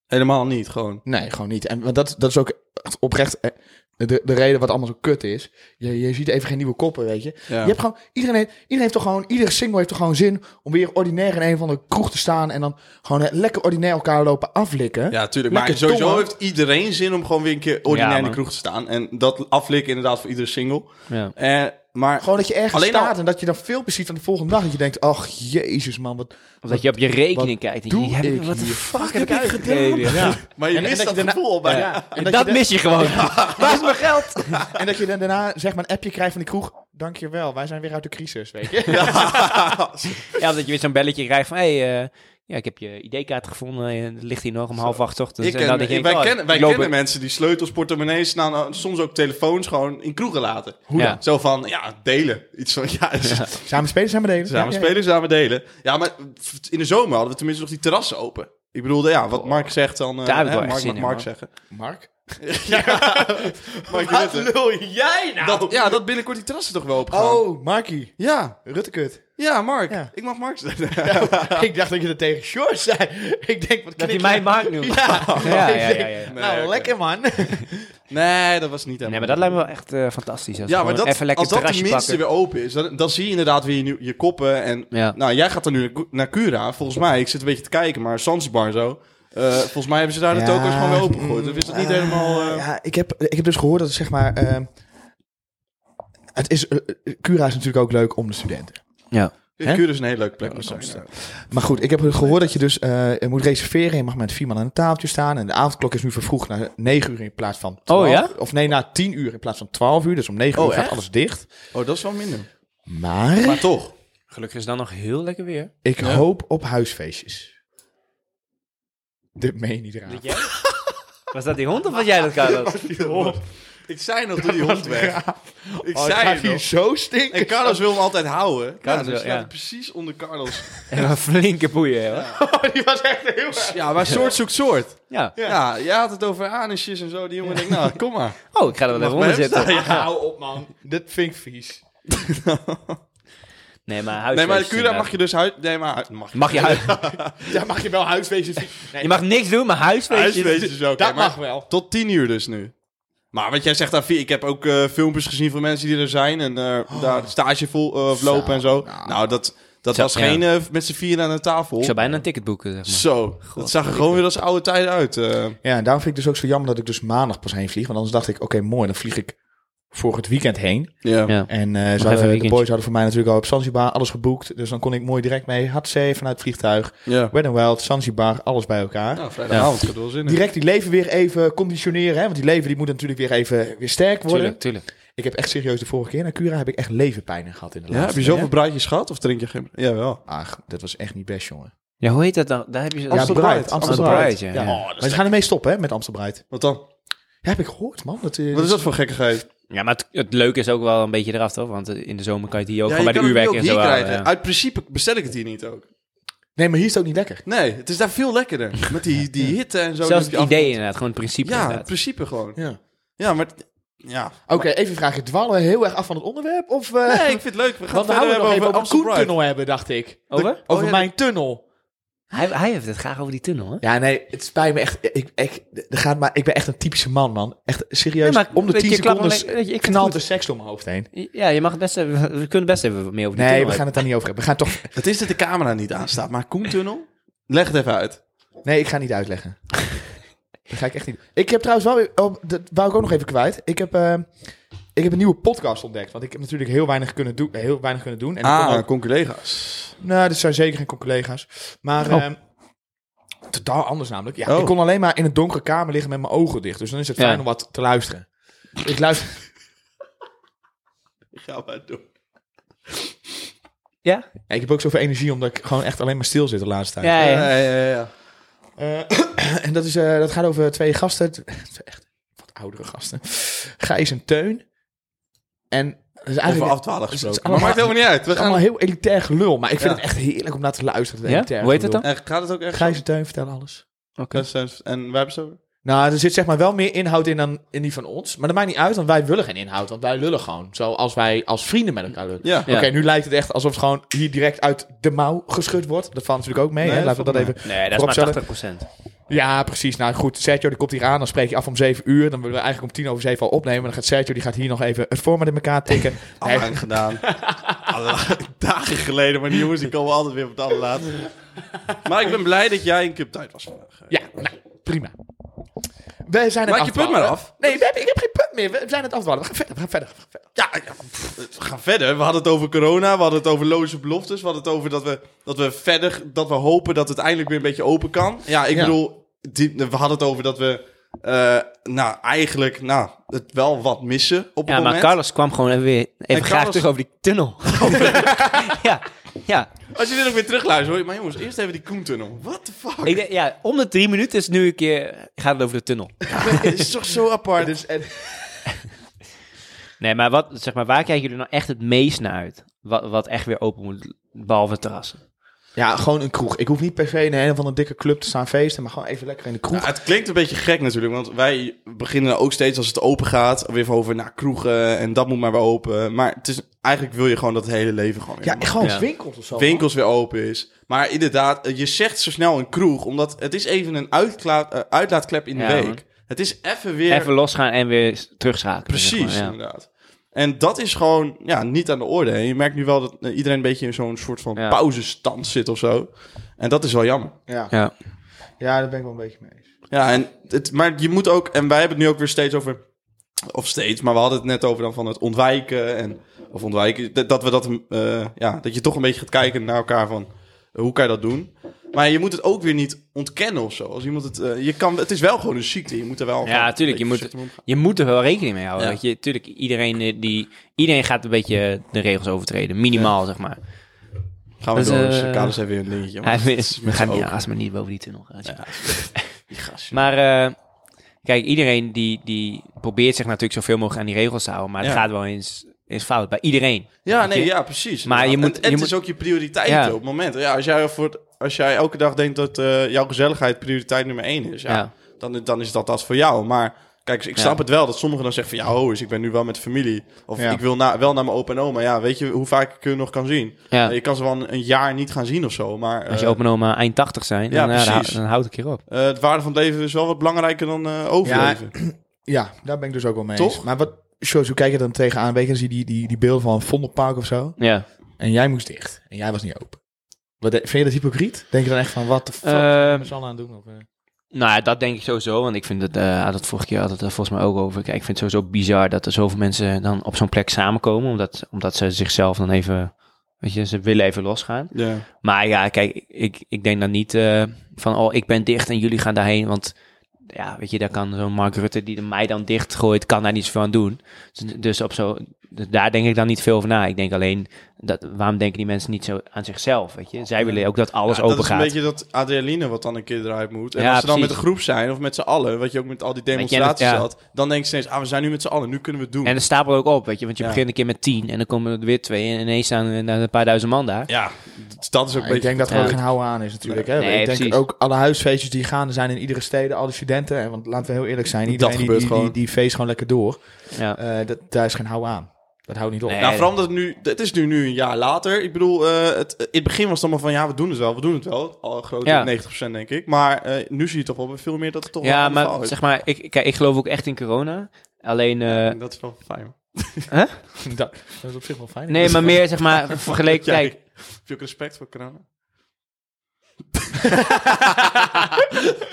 Speaker 1: helemaal niet gewoon.
Speaker 3: Nee, gewoon niet. En want dat, dat is ook echt oprecht eh, de, de reden wat allemaal zo kut is. Je, je ziet even geen nieuwe koppen, weet je.
Speaker 1: Ja.
Speaker 3: Je hebt gewoon, iedereen, heeft, iedereen heeft toch gewoon, iedere single heeft toch gewoon zin om weer ordinair in een van de kroeg te staan en dan gewoon eh, lekker ordinair elkaar lopen aflikken.
Speaker 1: Ja, tuurlijk.
Speaker 3: Lekker
Speaker 1: Maar sowieso
Speaker 3: tongen.
Speaker 1: heeft iedereen zin om gewoon weer een keer ordinair
Speaker 2: Ja,
Speaker 1: in de
Speaker 2: man.
Speaker 1: kroeg te staan. En dat aflikken inderdaad voor iedere single.
Speaker 2: Ja.
Speaker 1: Eh, maar
Speaker 3: Gewoon dat je ergens
Speaker 1: Alleen
Speaker 3: staat
Speaker 1: al-
Speaker 3: en dat je dan filmpjes ziet aan de volgende dag. Dat je denkt, ach, jezus man, wat...
Speaker 2: Of dat je op je rekening
Speaker 3: Wat
Speaker 2: kijkt. En
Speaker 3: doe
Speaker 2: je, denkt, heb
Speaker 3: ik
Speaker 2: wat de
Speaker 3: hier?
Speaker 2: fuck
Speaker 3: heb
Speaker 2: heb ik
Speaker 3: ik
Speaker 2: uitgegeven? Ja.
Speaker 1: maar je
Speaker 3: en- en
Speaker 1: mist dat,
Speaker 3: dat je daarna-
Speaker 1: gevoel al bij.
Speaker 3: Ja. En
Speaker 2: Dat,
Speaker 3: dat, je
Speaker 2: mis je gewoon. Waar is mijn geld?
Speaker 3: dan- en dat je dan daarna zeg maar een appje krijgt van die kroeg. Dankjewel, wij zijn weer uit de crisis, weet je.
Speaker 2: Ja, omdat je weer zo'n belletje krijgt van... Hé, hey, eh, ja, ik heb je ID-kaart gevonden. en Het ligt hier nog om half acht ochtends.
Speaker 1: Ik
Speaker 2: En
Speaker 1: ken-
Speaker 2: dan denk je,
Speaker 1: wij
Speaker 2: oh,
Speaker 1: kennen, wij
Speaker 2: ik loop
Speaker 1: kennen
Speaker 2: er-
Speaker 1: mensen die sleutels, portemonnees, nou, nou, soms ook telefoons gewoon in kroegen laten.
Speaker 2: Hoe dan? Ja.
Speaker 1: Zo van, ja, delen. Iets van, ja,
Speaker 3: Samen spelen, samen delen.
Speaker 1: samen
Speaker 3: Ja, ja, ja.
Speaker 1: spelen, samen delen. Ja, maar in de zomer hadden we tenminste nog die terrassen open. Ik bedoelde, ja, wat Mark zegt dan... eh,
Speaker 2: Daar heb ik
Speaker 1: hè,
Speaker 2: wel echt
Speaker 1: Mark
Speaker 2: zin
Speaker 1: mag
Speaker 2: in,
Speaker 1: Mark
Speaker 2: man.
Speaker 1: zeggen.
Speaker 3: Mark?
Speaker 1: Mark Rutte.
Speaker 3: lul jij nou?
Speaker 1: Dat, ja, dat binnenkort die terrassen toch wel open gaan.
Speaker 3: Oh, Markie.
Speaker 1: Ja,
Speaker 3: Ruttekut.
Speaker 1: ja, Mark.
Speaker 3: Ja.
Speaker 1: Ik mag Mark zeggen.
Speaker 3: ik dacht dat je dat tegen Short zei. ik denk, wat
Speaker 2: Dat hij
Speaker 3: knik
Speaker 2: mij
Speaker 3: je?
Speaker 2: maakt nu.
Speaker 3: Ja,
Speaker 2: ja, ja,
Speaker 3: Ik
Speaker 2: ja,
Speaker 3: denk,
Speaker 2: ja.
Speaker 3: Nou,
Speaker 1: Nee, oké.
Speaker 3: lekker man.
Speaker 1: Nee, dat was niet helemaal.
Speaker 2: Nee, maar dat lijkt me wel echt eh, fantastisch. Als
Speaker 1: Ja, maar
Speaker 2: gewoon
Speaker 1: dat,
Speaker 2: even lekker
Speaker 1: als dat
Speaker 2: terrasje
Speaker 1: tenminste
Speaker 2: pakken.
Speaker 1: weer open is, dan, dan zie je inderdaad weer je, nieuw- je koppen. En,
Speaker 2: Ja.
Speaker 1: Nou, jij gaat dan nu naar- naar Cura. Volgens mij, ik zit een beetje te kijken, maar Zanzibar en zo. eh, volgens mij hebben ze daar de
Speaker 3: Ja,
Speaker 1: toko's gewoon weer open
Speaker 3: mm,
Speaker 1: gegooid. Dus is dat niet
Speaker 3: eh,
Speaker 1: helemaal... eh,
Speaker 3: Ja, ik heb, ik heb dus gehoord dat het zeg maar... ehm, het is, eh, eh, Cura is natuurlijk ook leuk om de studenten.
Speaker 2: Ja.
Speaker 1: ja,
Speaker 3: hè?
Speaker 1: Cura is eh, een hele leuke plek. om
Speaker 3: Ja,
Speaker 1: te
Speaker 3: dat
Speaker 1: zijn.
Speaker 3: Maar goed, ik heb gehoord dat je dus eh, je moet reserveren. Je mag met vier man aan een tafeltje staan. En de avondklok is nu vervroegd naar negen uur in plaats van 12.
Speaker 2: ja?
Speaker 3: Of nee, naar tien uur in plaats van twaalf uur. Dus om negen
Speaker 1: Oh,
Speaker 3: uur gaat
Speaker 1: echt?
Speaker 3: alles dicht.
Speaker 1: Oh, dat is wel minder.
Speaker 3: Maar
Speaker 1: Maar toch.
Speaker 2: Gelukkig is dan nog heel lekker weer.
Speaker 3: ik hoop op huisfeestjes. Dit meen je niet raar.
Speaker 2: Was dat die hond of was jij dat, Carlos?
Speaker 1: Ik zei nog door die hond weg. Ik
Speaker 3: Oh, het
Speaker 1: zei
Speaker 3: gaat
Speaker 1: het
Speaker 3: hier
Speaker 1: nog.
Speaker 3: zo stinken.
Speaker 1: En Carlos wil hem altijd houden.
Speaker 2: Carlos
Speaker 1: Carlos ja,
Speaker 2: wil-
Speaker 1: dus staat
Speaker 2: ja.
Speaker 1: hij precies onder Carlos.
Speaker 2: En een flinke boeien, hoor.
Speaker 3: Die was echt heel erg.
Speaker 1: Ja, maar soort zoekt soort.
Speaker 2: Ja.
Speaker 1: Ja, jij had het over anusjes en zo. Die jongen denkt, nou, kom maar.
Speaker 2: Oh, ik ga er wel
Speaker 1: Mag
Speaker 2: even onder
Speaker 1: bij hem
Speaker 2: zitten.
Speaker 3: Hou op, man. Dit vind ik vies.
Speaker 2: Nee, maar
Speaker 1: Nee,
Speaker 2: huisfeestjes
Speaker 1: maar de Cura
Speaker 2: inderdaad.
Speaker 1: mag je dus huid... Nee, maar hu- mag je.
Speaker 2: Mag je, hui-
Speaker 3: Daar mag je wel huisfeestjes vies.
Speaker 2: je mag niks doen, maar huisfeestjes...
Speaker 1: Huisfeestjes ook.
Speaker 3: Dat
Speaker 1: hè, maar
Speaker 3: mag wel.
Speaker 1: Tot tien uur dus nu. Maar wat jij zegt, daar, ik heb ook eh, filmpjes gezien van mensen die er zijn en eh, daar stage vol, eh, lopen en zo.
Speaker 3: nou.
Speaker 1: Nou, dat, Dat
Speaker 2: Oh. Zo,
Speaker 1: was
Speaker 2: ja.
Speaker 1: geen eh, met z'n vieren aan een tafel.
Speaker 2: Ik zou bijna een ticket boeken, zeg maar.
Speaker 1: Zo, dat zag er gewoon weer als oude tijd uit. eh.
Speaker 3: Ja, en daarom vind ik dus ook zo jammer dat ik dus maandag pas heen vlieg. Want anders dacht ik, oké, mooi, dan vlieg ik voor het weekend heen.
Speaker 1: ja.
Speaker 2: Ja.
Speaker 3: En eh, ze
Speaker 2: even een
Speaker 3: hadden, de
Speaker 2: weekendje.
Speaker 3: boys hadden voor mij natuurlijk al op Zanzibar alles geboekt. Dus dan kon ik mooi direct mee. Had zee vanuit het vliegtuig.
Speaker 1: ja.
Speaker 3: Wet n Wild, Zanzibar, alles bij elkaar.
Speaker 1: Nou, vrijdagavond, ik had er wel zin in.
Speaker 3: Direct die leven weer even conditioneren. Hè? Want die leven die moet natuurlijk weer even weer sterk worden.
Speaker 2: Tuurlijk, tuurlijk.
Speaker 3: Ik heb echt serieus de vorige keer naar Cura heb ik echt levenpijnen gehad in de
Speaker 1: Ja, heb
Speaker 3: laatste
Speaker 1: je zoveel
Speaker 3: keer.
Speaker 1: braadjes gehad of drink je geen... Jawel.
Speaker 3: Ach, dat was echt niet best, jongen.
Speaker 2: Ja, hoe heet dat dan? Daar heb je...
Speaker 1: Amstel
Speaker 3: ja, Bride.
Speaker 1: Bride.
Speaker 3: Amstel
Speaker 2: Amstel
Speaker 3: Bride,
Speaker 2: Bride,
Speaker 3: ja.
Speaker 2: ja, ja.
Speaker 1: Oh,
Speaker 3: Maar ze gaan ermee stoppen, hè, met Amstel Bride.
Speaker 1: Wat dan?
Speaker 3: Ja, heb ik gehoord, man. Dat, eh,
Speaker 1: Wat is dat voor gekkigheid?
Speaker 2: Ja, maar het, het leuke is ook wel een beetje eraf, toch? Want eh, in de zomer kan je het hier ook
Speaker 1: Ja,
Speaker 2: gewoon bij
Speaker 1: kan
Speaker 2: de
Speaker 1: het nu
Speaker 2: uurwerk
Speaker 1: ook
Speaker 2: en
Speaker 1: hier
Speaker 2: zo eh, halen.
Speaker 1: krijgen.
Speaker 2: ja.
Speaker 1: Uit principe bestel ik het hier niet ook.
Speaker 3: Nee, maar hier is het ook niet lekker.
Speaker 1: Nee, het is daar veel lekkerder. Met die, die hitte en zo.
Speaker 2: Zelfs
Speaker 1: die
Speaker 2: het
Speaker 1: je af-
Speaker 2: idee inderdaad, gewoon het principe
Speaker 1: Ja, het
Speaker 2: inderdaad.
Speaker 1: principe gewoon.
Speaker 3: Ja.
Speaker 1: Ja, maar... t- Ja.
Speaker 3: Oké, even vragen. Dwalen we heel erg af van het onderwerp? Of, eh
Speaker 1: Nee, ik vind het leuk. We gaan
Speaker 3: want
Speaker 1: het
Speaker 3: we
Speaker 1: verder
Speaker 3: houden nog
Speaker 1: hebben
Speaker 3: even
Speaker 1: over Oh,
Speaker 3: over
Speaker 1: Amstel
Speaker 3: Koen
Speaker 1: Pride.
Speaker 3: tunnel hebben, dacht ik.
Speaker 2: Over?
Speaker 3: Over
Speaker 1: ja,
Speaker 3: mijn tunnel.
Speaker 2: Hij, hij heeft het graag over die tunnel, hè?
Speaker 3: Ja, nee, het spijt me echt. Ik, ik, er gaat maar, ik ben echt een typische man, man. Echt serieus.
Speaker 2: Nee, maar
Speaker 3: om de
Speaker 2: weet je,
Speaker 3: 10
Speaker 2: je klapt
Speaker 3: seconden
Speaker 2: hem alleen- weet je, ik vind
Speaker 3: knalt
Speaker 2: het
Speaker 3: de seks door mijn hoofd heen.
Speaker 2: Ja, je mag het best even, we kunnen het best even wat meer over die
Speaker 3: Nee,
Speaker 2: tunnel
Speaker 3: we gaan het daar niet over hebben. We gaan toch...
Speaker 1: Het is dat de camera niet aanstaat, maar Koentunnel? Leg het even uit.
Speaker 3: Nee, ik ga niet uitleggen. Dat ga ik echt niet. Ik heb trouwens wel weer... oh, dat wou ik ook nog even kwijt. Ik heb, eh, ik heb een nieuwe podcast ontdekt. Want ik heb natuurlijk heel weinig kunnen, doen heel weinig kunnen doen. En ik kon ook-
Speaker 1: Ah, conculega's.
Speaker 3: Nou, dit zijn zeker geen collega's. Maar
Speaker 2: Oh.
Speaker 3: ehm, totaal anders namelijk. Ja,
Speaker 1: Oh.
Speaker 3: Ik kon alleen maar in een donkere kamer liggen met mijn ogen dicht. Dus dan is het
Speaker 2: Ja.
Speaker 3: fijn om wat te luisteren. Ik luister...
Speaker 1: Ga maar door.
Speaker 2: Ja?
Speaker 3: Ja, ik heb ook zoveel energie omdat ik gewoon echt alleen maar stil zit de laatste tijd.
Speaker 2: Ja, ja.
Speaker 1: Ja, ja, ja. ja.
Speaker 3: Eh, en dat, is, eh, dat gaat over twee gasten. Twee echt wat oudere gasten. Gijs en Teun. En dat is
Speaker 1: Over
Speaker 3: eigenlijk
Speaker 1: afdwalen
Speaker 3: het is
Speaker 1: gesproken. Maar
Speaker 3: allemaal-
Speaker 1: maakt helemaal niet uit. We
Speaker 3: het is allemaal
Speaker 1: gaan...
Speaker 3: heel elitair gelul. Maar ik vind
Speaker 1: Ja.
Speaker 3: het echt heerlijk om naar te luisteren. dat
Speaker 2: Ja?
Speaker 3: elitair
Speaker 2: Hoe heet het
Speaker 3: gelul.
Speaker 1: En gaat het ook echt?
Speaker 3: Gijs en Teun vertellen alles.
Speaker 2: Oké.
Speaker 1: Gijs- En waar hebben ze het over?
Speaker 3: Nou, er zit zeg maar wel meer inhoud in dan in die van ons. Maar dat maakt niet uit, want wij willen geen inhoud. Want wij lullen gewoon. Zoals wij als vrienden met elkaar lullen.
Speaker 1: Ja.
Speaker 2: Ja.
Speaker 3: Oké, nu lijkt het echt alsof het gewoon hier direct uit de mouw geschud wordt. Dat valt natuurlijk ook mee.
Speaker 1: Nee,
Speaker 3: hè?
Speaker 1: dat
Speaker 3: Laten we dat
Speaker 1: valt
Speaker 3: even.
Speaker 2: Nee, dat is maar
Speaker 3: Vooropstellen.
Speaker 2: 80
Speaker 3: Ja, precies. Nou goed, Sergio die komt hier aan. Dan spreek je af om 7 uur. Dan willen we eigenlijk om tien over 7 al opnemen. Dan gaat Sergio die gaat hier nog even het format in elkaar tikken.
Speaker 1: Al
Speaker 3: Nee,
Speaker 1: lang gedaan. Al dagen geleden, maar die jongens die komen altijd weer op het allerlaatste. Maar ik ben blij dat jij in Cup tijd was vandaag.
Speaker 3: ja, nou, prima. We zijn aan
Speaker 1: Maak je
Speaker 3: het
Speaker 1: punt maar
Speaker 3: afdwalen.
Speaker 1: af.
Speaker 3: Nee, we hebben- ik heb geen punt meer. We zijn aan het afdwalen. We gaan verder, we gaan verder. We gaan verder.
Speaker 1: Ja, ja, pff, we gaan verder. We hadden het over corona, we hadden het over loze beloftes, we hadden het over dat we, dat we verder, dat we hopen dat het eindelijk weer een beetje open kan. Ja, ik
Speaker 3: Ja.
Speaker 1: bedoel, die- we hadden het over dat we, eh, nou, eigenlijk, nou, het wel wat missen op
Speaker 2: Ja,
Speaker 1: het
Speaker 2: maar
Speaker 1: moment.
Speaker 2: Carlos kwam gewoon even, weer, even
Speaker 1: En
Speaker 2: graag
Speaker 1: Carlos-
Speaker 2: terug over die tunnel. ja, ja.
Speaker 1: Als je dit ook weer terugluistert, hoor je, maar jongens, eerst even die Koentunnel. What the fuck?
Speaker 2: Ik denk, ja, om de drie minuten is nu een keer, gaat het over de tunnel.
Speaker 1: Het is toch zo apart.
Speaker 3: Dus, en,
Speaker 2: Nee, maar, wat, zeg maar waar kijken jullie nou echt het meest naar uit? Wat, wat echt weer open moet, behalve terrassen.
Speaker 3: Ja, gewoon een kroeg. Ik hoef niet per se in een of andere dikke club te staan feesten, maar gewoon even lekker in de kroeg.
Speaker 1: Ja, het klinkt een beetje gek natuurlijk, want wij beginnen ook steeds als het open gaat, weer over nou, kroegen en dat moet maar weer open. Maar het is, eigenlijk wil je gewoon dat het hele leven gewoon weer
Speaker 3: ja,
Speaker 1: mag.
Speaker 3: gewoon
Speaker 2: Ja.
Speaker 3: winkels of zo.
Speaker 1: winkels weer open is. Maar inderdaad, eh, je zegt zo snel een kroeg, omdat het is even een uitkla- eh, uitlaatklep in de
Speaker 2: Ja,
Speaker 1: week.
Speaker 2: man.
Speaker 1: Het is even weer...
Speaker 2: Even losgaan en weer s- terugschakelen. zeg maar,
Speaker 1: precies,
Speaker 2: ja.
Speaker 1: inderdaad. En dat is gewoon ja, niet aan de orde. En je merkt nu wel dat eh, iedereen een beetje in zo'n soort van
Speaker 2: Ja.
Speaker 1: pauzestand zit of zo. En dat is wel jammer.
Speaker 3: man. Ja.
Speaker 2: Ja.
Speaker 3: ja, daar ben ik wel een beetje mee eens.
Speaker 1: Ja, en het, maar je moet ook, en wij hebben het nu ook weer steeds over, of steeds, maar we hadden het net over dan van het ontwijken en, of ontwijken, dat, dat we dat, eh, ja, dat je toch een beetje gaat kijken naar elkaar van, eh, hoe kan je dat doen? Maar je moet het ook weer niet ontkennen of zo. Als iemand het, eh, je kan, het is wel gewoon een ziekte, je moet er wel.
Speaker 2: Ja,
Speaker 1: gewoon
Speaker 2: tuurlijk,
Speaker 1: een
Speaker 2: je
Speaker 1: beetje
Speaker 2: moet-
Speaker 1: voorzichtig mee omgaan.
Speaker 2: Je moet er wel rekening mee houden.
Speaker 1: Ja.
Speaker 2: Weet je, tuurlijk, iedereen, eh, die, iedereen gaat een beetje de regels overtreden. Minimaal, zeg maar.
Speaker 1: Gaan we
Speaker 2: Dus,
Speaker 1: door,
Speaker 2: eh,
Speaker 1: dus Carlos heeft weer een dingetje.
Speaker 2: Hij
Speaker 1: maar het is
Speaker 2: is,
Speaker 1: met
Speaker 2: ga
Speaker 1: zijn
Speaker 2: niet
Speaker 1: ogen.
Speaker 2: haast me niet boven die tunnel gaan.
Speaker 1: Die gast, joh.
Speaker 2: Maar eh, kijk, iedereen die, die probeert zich natuurlijk zoveel mogelijk aan die regels te houden. Maar het
Speaker 1: Ja.
Speaker 2: gaat wel eens, eens fout bij iedereen.
Speaker 1: Ja,
Speaker 2: Weet
Speaker 1: nee,
Speaker 2: je?
Speaker 1: ja, precies.
Speaker 2: Maar je
Speaker 1: En-
Speaker 2: moet-
Speaker 1: en
Speaker 2: je
Speaker 1: het
Speaker 2: moet-
Speaker 1: is ook je prioriteit
Speaker 2: Ja.
Speaker 1: op het moment. Ja, als, jij voor het- als jij elke dag denkt dat eh, jouw gezelligheid prioriteit nummer één is, ja,
Speaker 2: Ja.
Speaker 1: Dan, dan is dat dat voor jou. Maar kijk, ik snap
Speaker 2: Ja.
Speaker 1: het wel dat sommigen dan zeggen van... ja, ho, eens, ik ben nu wel met familie. Of
Speaker 3: Ja.
Speaker 1: ik wil na, wel naar mijn opa en oma. Ja, weet je hoe vaak ik je nog kan zien?
Speaker 2: Ja.
Speaker 1: Je kan ze wel een, een jaar niet gaan zien of zo. Maar eh,
Speaker 2: Als je open en oma eind 80 zijn,
Speaker 1: ja,
Speaker 2: dan, ja, dan,
Speaker 1: precies.
Speaker 2: dan houdt het een keer op.
Speaker 1: eh, het waarde van het leven is wel wat belangrijker dan eh, overleven.
Speaker 3: Ja, daar ben ik dus ook wel mee
Speaker 1: Toch?
Speaker 3: eens. Maar wat, Shows, hoe kijk je dan tegenaan? Weet je, dan zie je die, die, die beelden van een Vondelpark of zo.
Speaker 2: Ja,
Speaker 3: en jij moest dicht. En jij was niet open. Wat, de- vind je dat hypocriet? Denk je dan echt van, wat de fuck
Speaker 2: Eh,
Speaker 3: zijn we z'n allen aan het doen? Of, eh?
Speaker 2: Nou, ja, dat denk ik sowieso. Want ik vind het, eh had het vorige keer had het er volgens mij ook over. Kijk, ik vind het sowieso bizar dat er zoveel mensen dan op zo'n plek samenkomen. Omdat, omdat ze zichzelf dan even, weet je, ze willen even losgaan.
Speaker 1: Ja.
Speaker 2: Maar ja, kijk, ik, ik denk dan niet eh, van, oh, ik ben dicht en jullie gaan daarheen. Want ja, weet je, daar kan zo'n Mark Rutte die de mij dan dichtgooit, kan daar niets van doen. Dus, dus op zo, dus daar denk ik dan niet veel over na. Ik denk alleen, dat, waarom denken die mensen niet zo aan zichzelf, weet je? Zij willen ook dat alles
Speaker 1: Ja,
Speaker 2: open
Speaker 1: dat is een
Speaker 2: gaat.
Speaker 1: beetje dat adrenaline wat dan een keer eruit moet. En
Speaker 2: Ja,
Speaker 1: als ze dan
Speaker 2: precies.
Speaker 1: met een groep zijn, of met z'n allen, wat je ook met al die demonstraties
Speaker 2: ja.
Speaker 1: had, dan denk je steeds, ah, we zijn nu met z'n allen, nu kunnen we het doen.
Speaker 2: En het stapelt ook op, weet je. Want je
Speaker 1: Ja.
Speaker 2: begint een keer met tien en dan komen er weer twee en ineens staan er een paar duizend man daar.
Speaker 1: ja, d- dat is ook
Speaker 3: Ja,
Speaker 1: een
Speaker 3: ik
Speaker 1: beetje...
Speaker 3: denk dat er
Speaker 2: ja.
Speaker 3: ook geen hou aan is natuurlijk. Hè?
Speaker 2: Nee,
Speaker 3: ik denk
Speaker 2: precies.
Speaker 3: ook alle huisfeestjes die gaande zijn in iedere steden, alle studenten. En want laten we heel eerlijk zijn, iedereen die,
Speaker 1: gebeurt
Speaker 3: die, die,
Speaker 1: gewoon.
Speaker 3: die feest gewoon lekker door.
Speaker 2: Ja.
Speaker 3: Eh, dat, daar is geen hou aan. Dat houdt niet op.
Speaker 2: Nee.
Speaker 1: Nou, vooral omdat het nu... Het is nu, nu een jaar later. Ik bedoel, eh, het, in het begin was het allemaal van... Ja, we doen het wel, we doen het wel. Al groot
Speaker 2: Ja.
Speaker 1: 90% denk ik. Maar eh, nu zie je toch wel weer veel meer dat het toch wel
Speaker 2: ja,
Speaker 1: een ander verhaal
Speaker 2: maar
Speaker 1: is.
Speaker 2: zeg maar, ik, kijk, ik geloof ook echt in corona. Alleen, eh,
Speaker 1: dat is wel fijn.
Speaker 3: dat, dat is op zich wel fijn.
Speaker 2: nee, maar meer zeg maar vergeleken,
Speaker 1: Jij-
Speaker 2: kijk.
Speaker 1: Heb je ook respect voor corona?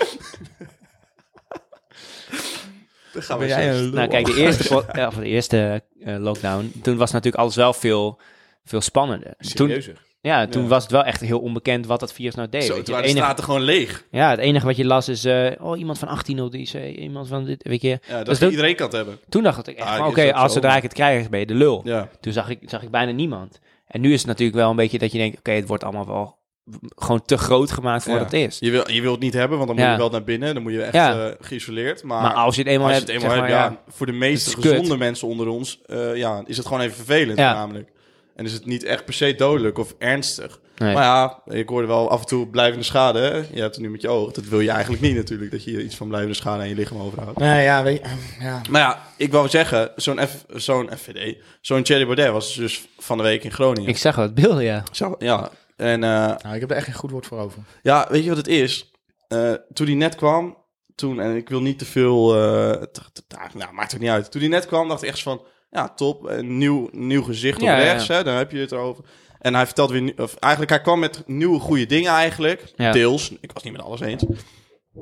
Speaker 1: Dan gaan we
Speaker 3: Ben jij
Speaker 1: zo.
Speaker 3: een lul?
Speaker 2: Nou, kijk, de eerste, po- eh, of de eerste eh, lockdown, toen was natuurlijk alles wel veel, veel spannender. Toen,
Speaker 3: Serieuzer.
Speaker 2: ja, toen
Speaker 1: Ja.
Speaker 2: was het wel echt heel onbekend wat dat virus nou deed.
Speaker 1: Zo,
Speaker 2: weet
Speaker 1: het
Speaker 2: je. Het
Speaker 1: waren de
Speaker 2: enige-
Speaker 1: straten gewoon leeg.
Speaker 2: ja, het enige wat je las is, eh, oh, iemand van 18 op de IC, iemand van dit, weet je.
Speaker 1: Ja, dat
Speaker 2: Dus
Speaker 1: je
Speaker 2: dat-
Speaker 1: iedereen kan het hebben.
Speaker 2: Toen dacht ik echt,
Speaker 1: Ah,
Speaker 2: van,
Speaker 1: is
Speaker 2: oké,
Speaker 1: ook
Speaker 2: als
Speaker 1: zo,
Speaker 2: zodra
Speaker 1: maar-
Speaker 2: ik het krijg, ben je de lul.
Speaker 1: Ja.
Speaker 2: Toen zag ik, zag ik bijna niemand. En nu is het natuurlijk wel een beetje dat je denkt, oké, het wordt allemaal wel gewoon te groot gemaakt voor
Speaker 1: Ja.
Speaker 2: wat het is.
Speaker 1: Je wil, je wil het niet hebben, want dan
Speaker 2: Ja.
Speaker 1: moet je wel naar binnen. Dan moet je echt
Speaker 2: Ja.
Speaker 1: eh, geïsoleerd. Maar,
Speaker 2: maar als je het eenmaal
Speaker 1: als je
Speaker 2: hebt,
Speaker 1: het eenmaal
Speaker 2: zeg
Speaker 1: hebt,
Speaker 2: maar,
Speaker 1: ja, voor de meeste
Speaker 2: Het is kut.
Speaker 1: gezonde mensen onder ons, eh, ja, is het gewoon even vervelend
Speaker 2: Ja.
Speaker 1: namelijk. En is het niet echt per se dodelijk of ernstig.
Speaker 2: ja. Nee.
Speaker 1: Maar ja, ik hoorde wel af en toe blijvende schade. Hè? Je hebt het nu met je oog. Dat wil je eigenlijk niet natuurlijk, dat je iets van blijvende schade aan je lichaam overhoudt.
Speaker 3: Nee, ja, weet je, ja.
Speaker 1: Maar ja, ik wou zeggen, zo'n F- zo'n FVD, zo'n Thierry Baudet was dus van de week in Groningen.
Speaker 2: Ik zag wat beelden, ja.
Speaker 1: Zo, Ja, en eh,
Speaker 3: Nou, ik heb er echt geen goed woord voor over.
Speaker 1: ja, weet je wat het is? Eh, toen hij net kwam, toen, en ik wil niet te veel, eh, t- t- t- nou, maakt het niet uit. Toen hij net kwam, dacht ik echt van, ja, top, een nieuw, nieuw gezicht op
Speaker 2: Ja, ja,
Speaker 1: rechts,
Speaker 2: ja.
Speaker 1: Hè, daar heb je het over. En hij vertelt weer, nie- of eigenlijk, hij kwam met nieuwe goede dingen eigenlijk,
Speaker 2: Ja.
Speaker 1: deels. Ik was niet met alles eens.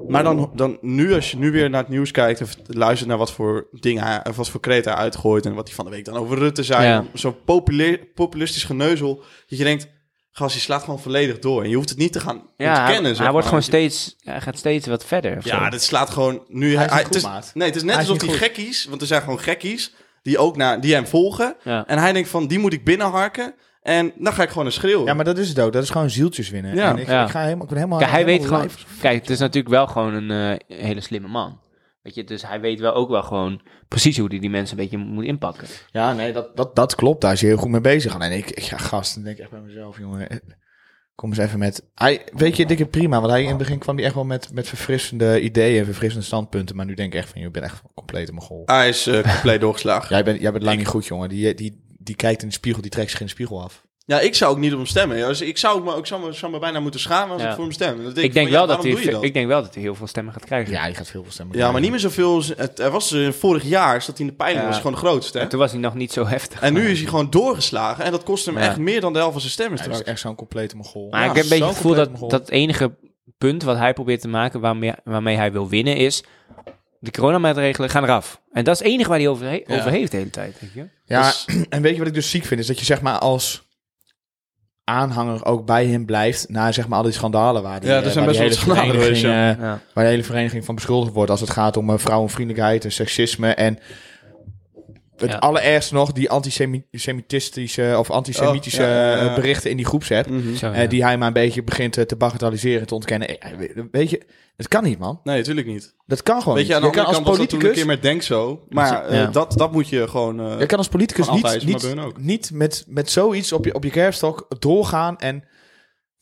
Speaker 1: Maar dan, dan nu, als je nu weer naar het nieuws kijkt en luistert naar wat voor dingen hij, of wat voor kreet hij uitgooit en wat hij van de week dan over Rutte zei,
Speaker 2: Ja.
Speaker 1: zo'n populair, populistisch geneuzel, dat je denkt, gast, je slaat gewoon volledig door. En je hoeft het niet te gaan
Speaker 2: Ja, hij,
Speaker 1: ontkennen. zeg
Speaker 2: hij wordt
Speaker 1: maar.
Speaker 2: gewoon steeds, hij gaat steeds wat verder. of zo.
Speaker 1: Ja, dit slaat gewoon nu.
Speaker 3: Hij is niet
Speaker 1: het is,
Speaker 3: goed, maat.
Speaker 1: nee, het is net
Speaker 3: Hij is
Speaker 1: alsof
Speaker 3: niet
Speaker 1: die
Speaker 3: goed.
Speaker 1: gekkies, want er zijn gewoon gekkies die ook naar die hem volgen.
Speaker 2: Ja.
Speaker 1: En hij denkt van die moet ik binnenharken en dan ga ik gewoon een schreeuwen.
Speaker 3: Ja, maar dat is het ook. Dat is gewoon zieltjes winnen.
Speaker 1: Ja.
Speaker 3: En ik,
Speaker 2: Ja.
Speaker 3: ik ga helemaal, ik ben helemaal...
Speaker 2: Kijk, hij weet
Speaker 3: helemaal
Speaker 2: gewoon. Kijk, het is natuurlijk wel gewoon een eh, hele slimme man. Weet je, dus hij weet wel ook wel gewoon precies hoe hij die mensen een beetje moet inpakken.
Speaker 3: Ja, nee, dat, dat, dat klopt. Daar is hij heel goed mee bezig. Alleen ik, ik- ja, gast, dan denk ik echt bij mezelf, jongen. eh, Kom eens even met... Hij, weet je, dikke prima. Want hij in het begin kwam hij echt wel met, met verfrissende ideeën en verfrissende standpunten. Maar nu denk ik echt van, je bent echt compleet een goal.
Speaker 1: Hij is eh, compleet doorgeslagen.
Speaker 3: Jij bent, jij bent lang niet goed, jongen. Die, die, die kijkt in de spiegel, die trekt zich in de spiegel af.
Speaker 1: Ja, ik zou ook niet op hem stemmen. Ja, Dus ik zou me, ik zou me, zou me bijna moeten schamen als
Speaker 2: Ja.
Speaker 1: ik voor hem stem. Dan
Speaker 2: Ik,
Speaker 1: ik
Speaker 2: denk
Speaker 1: van, ja,
Speaker 2: wel dat hij,
Speaker 1: waarom doe je dat?
Speaker 2: ik denk wel dat hij heel veel stemmen gaat krijgen.
Speaker 3: Ja, die gaat veel stemmen.
Speaker 1: Ja, maar niet meer zoveel. als- Het, er was eh, vorig jaar, zat hij in de peiling,
Speaker 2: Ja.
Speaker 1: was hij gewoon de grootste. hè?
Speaker 2: En toen was hij nog niet zo heftig.
Speaker 1: En nu is hij gewoon doorgeslagen en dat kost hem
Speaker 2: Ja.
Speaker 1: echt meer dan de helft van zijn stemmen
Speaker 3: Hij is
Speaker 1: straks.
Speaker 3: echt zo'n complete mogol.
Speaker 2: Maar
Speaker 3: Ja,
Speaker 2: ik heb een beetje
Speaker 3: zo'n
Speaker 2: het gevoel
Speaker 3: complete
Speaker 2: dat,
Speaker 3: mogol.
Speaker 2: dat het enige punt wat hij probeert te maken waarmee, waarmee hij wil winnen is. De coronamaatregelen gaan eraf. En dat is het enige waar hij over, he-
Speaker 1: Ja.
Speaker 2: over heeft de hele tijd. Weet je?
Speaker 3: Ja,
Speaker 1: Dus-
Speaker 3: en weet je wat ik dus ziek vind? Is dat je zeg maar als aanhanger ook bij hem blijft na zeg maar al die schandalen waar die,
Speaker 1: Ja, er
Speaker 3: eh,
Speaker 1: zijn
Speaker 3: waar
Speaker 1: best wel
Speaker 3: die hele
Speaker 1: wat schandalen
Speaker 3: vereniging,
Speaker 1: geweest,
Speaker 3: eh, waar de hele vereniging van beschuldigd wordt als het gaat om eh, vrouwenvriendelijkheid en seksisme en het
Speaker 2: Ja.
Speaker 3: allerergste nog die antisemitistische of antisemitische
Speaker 1: Oh, ja, ja, ja.
Speaker 3: eh, berichten in die groepset
Speaker 1: Mhm.
Speaker 2: Zo,
Speaker 3: eh,
Speaker 2: ja.
Speaker 3: die hij maar een beetje begint eh, te bagatelliseren, te ontkennen. Eh, we- Weet je, het kan niet man,
Speaker 1: Nee, natuurlijk niet.
Speaker 3: dat kan gewoon
Speaker 1: Weet je,
Speaker 3: niet.
Speaker 1: aan de andere
Speaker 3: kan
Speaker 1: kant was dat toen een
Speaker 3: politicus-
Speaker 1: keer met Denk zo. Maar eh,
Speaker 2: Ja.
Speaker 1: dat, dat moet je gewoon... eh,
Speaker 3: Je kan als politicus
Speaker 1: Van
Speaker 3: niet,
Speaker 1: Althuizen, maar
Speaker 3: niet,
Speaker 1: bij hun ook.
Speaker 3: niet met, met zoiets op je, op je kerfstok doorgaan en...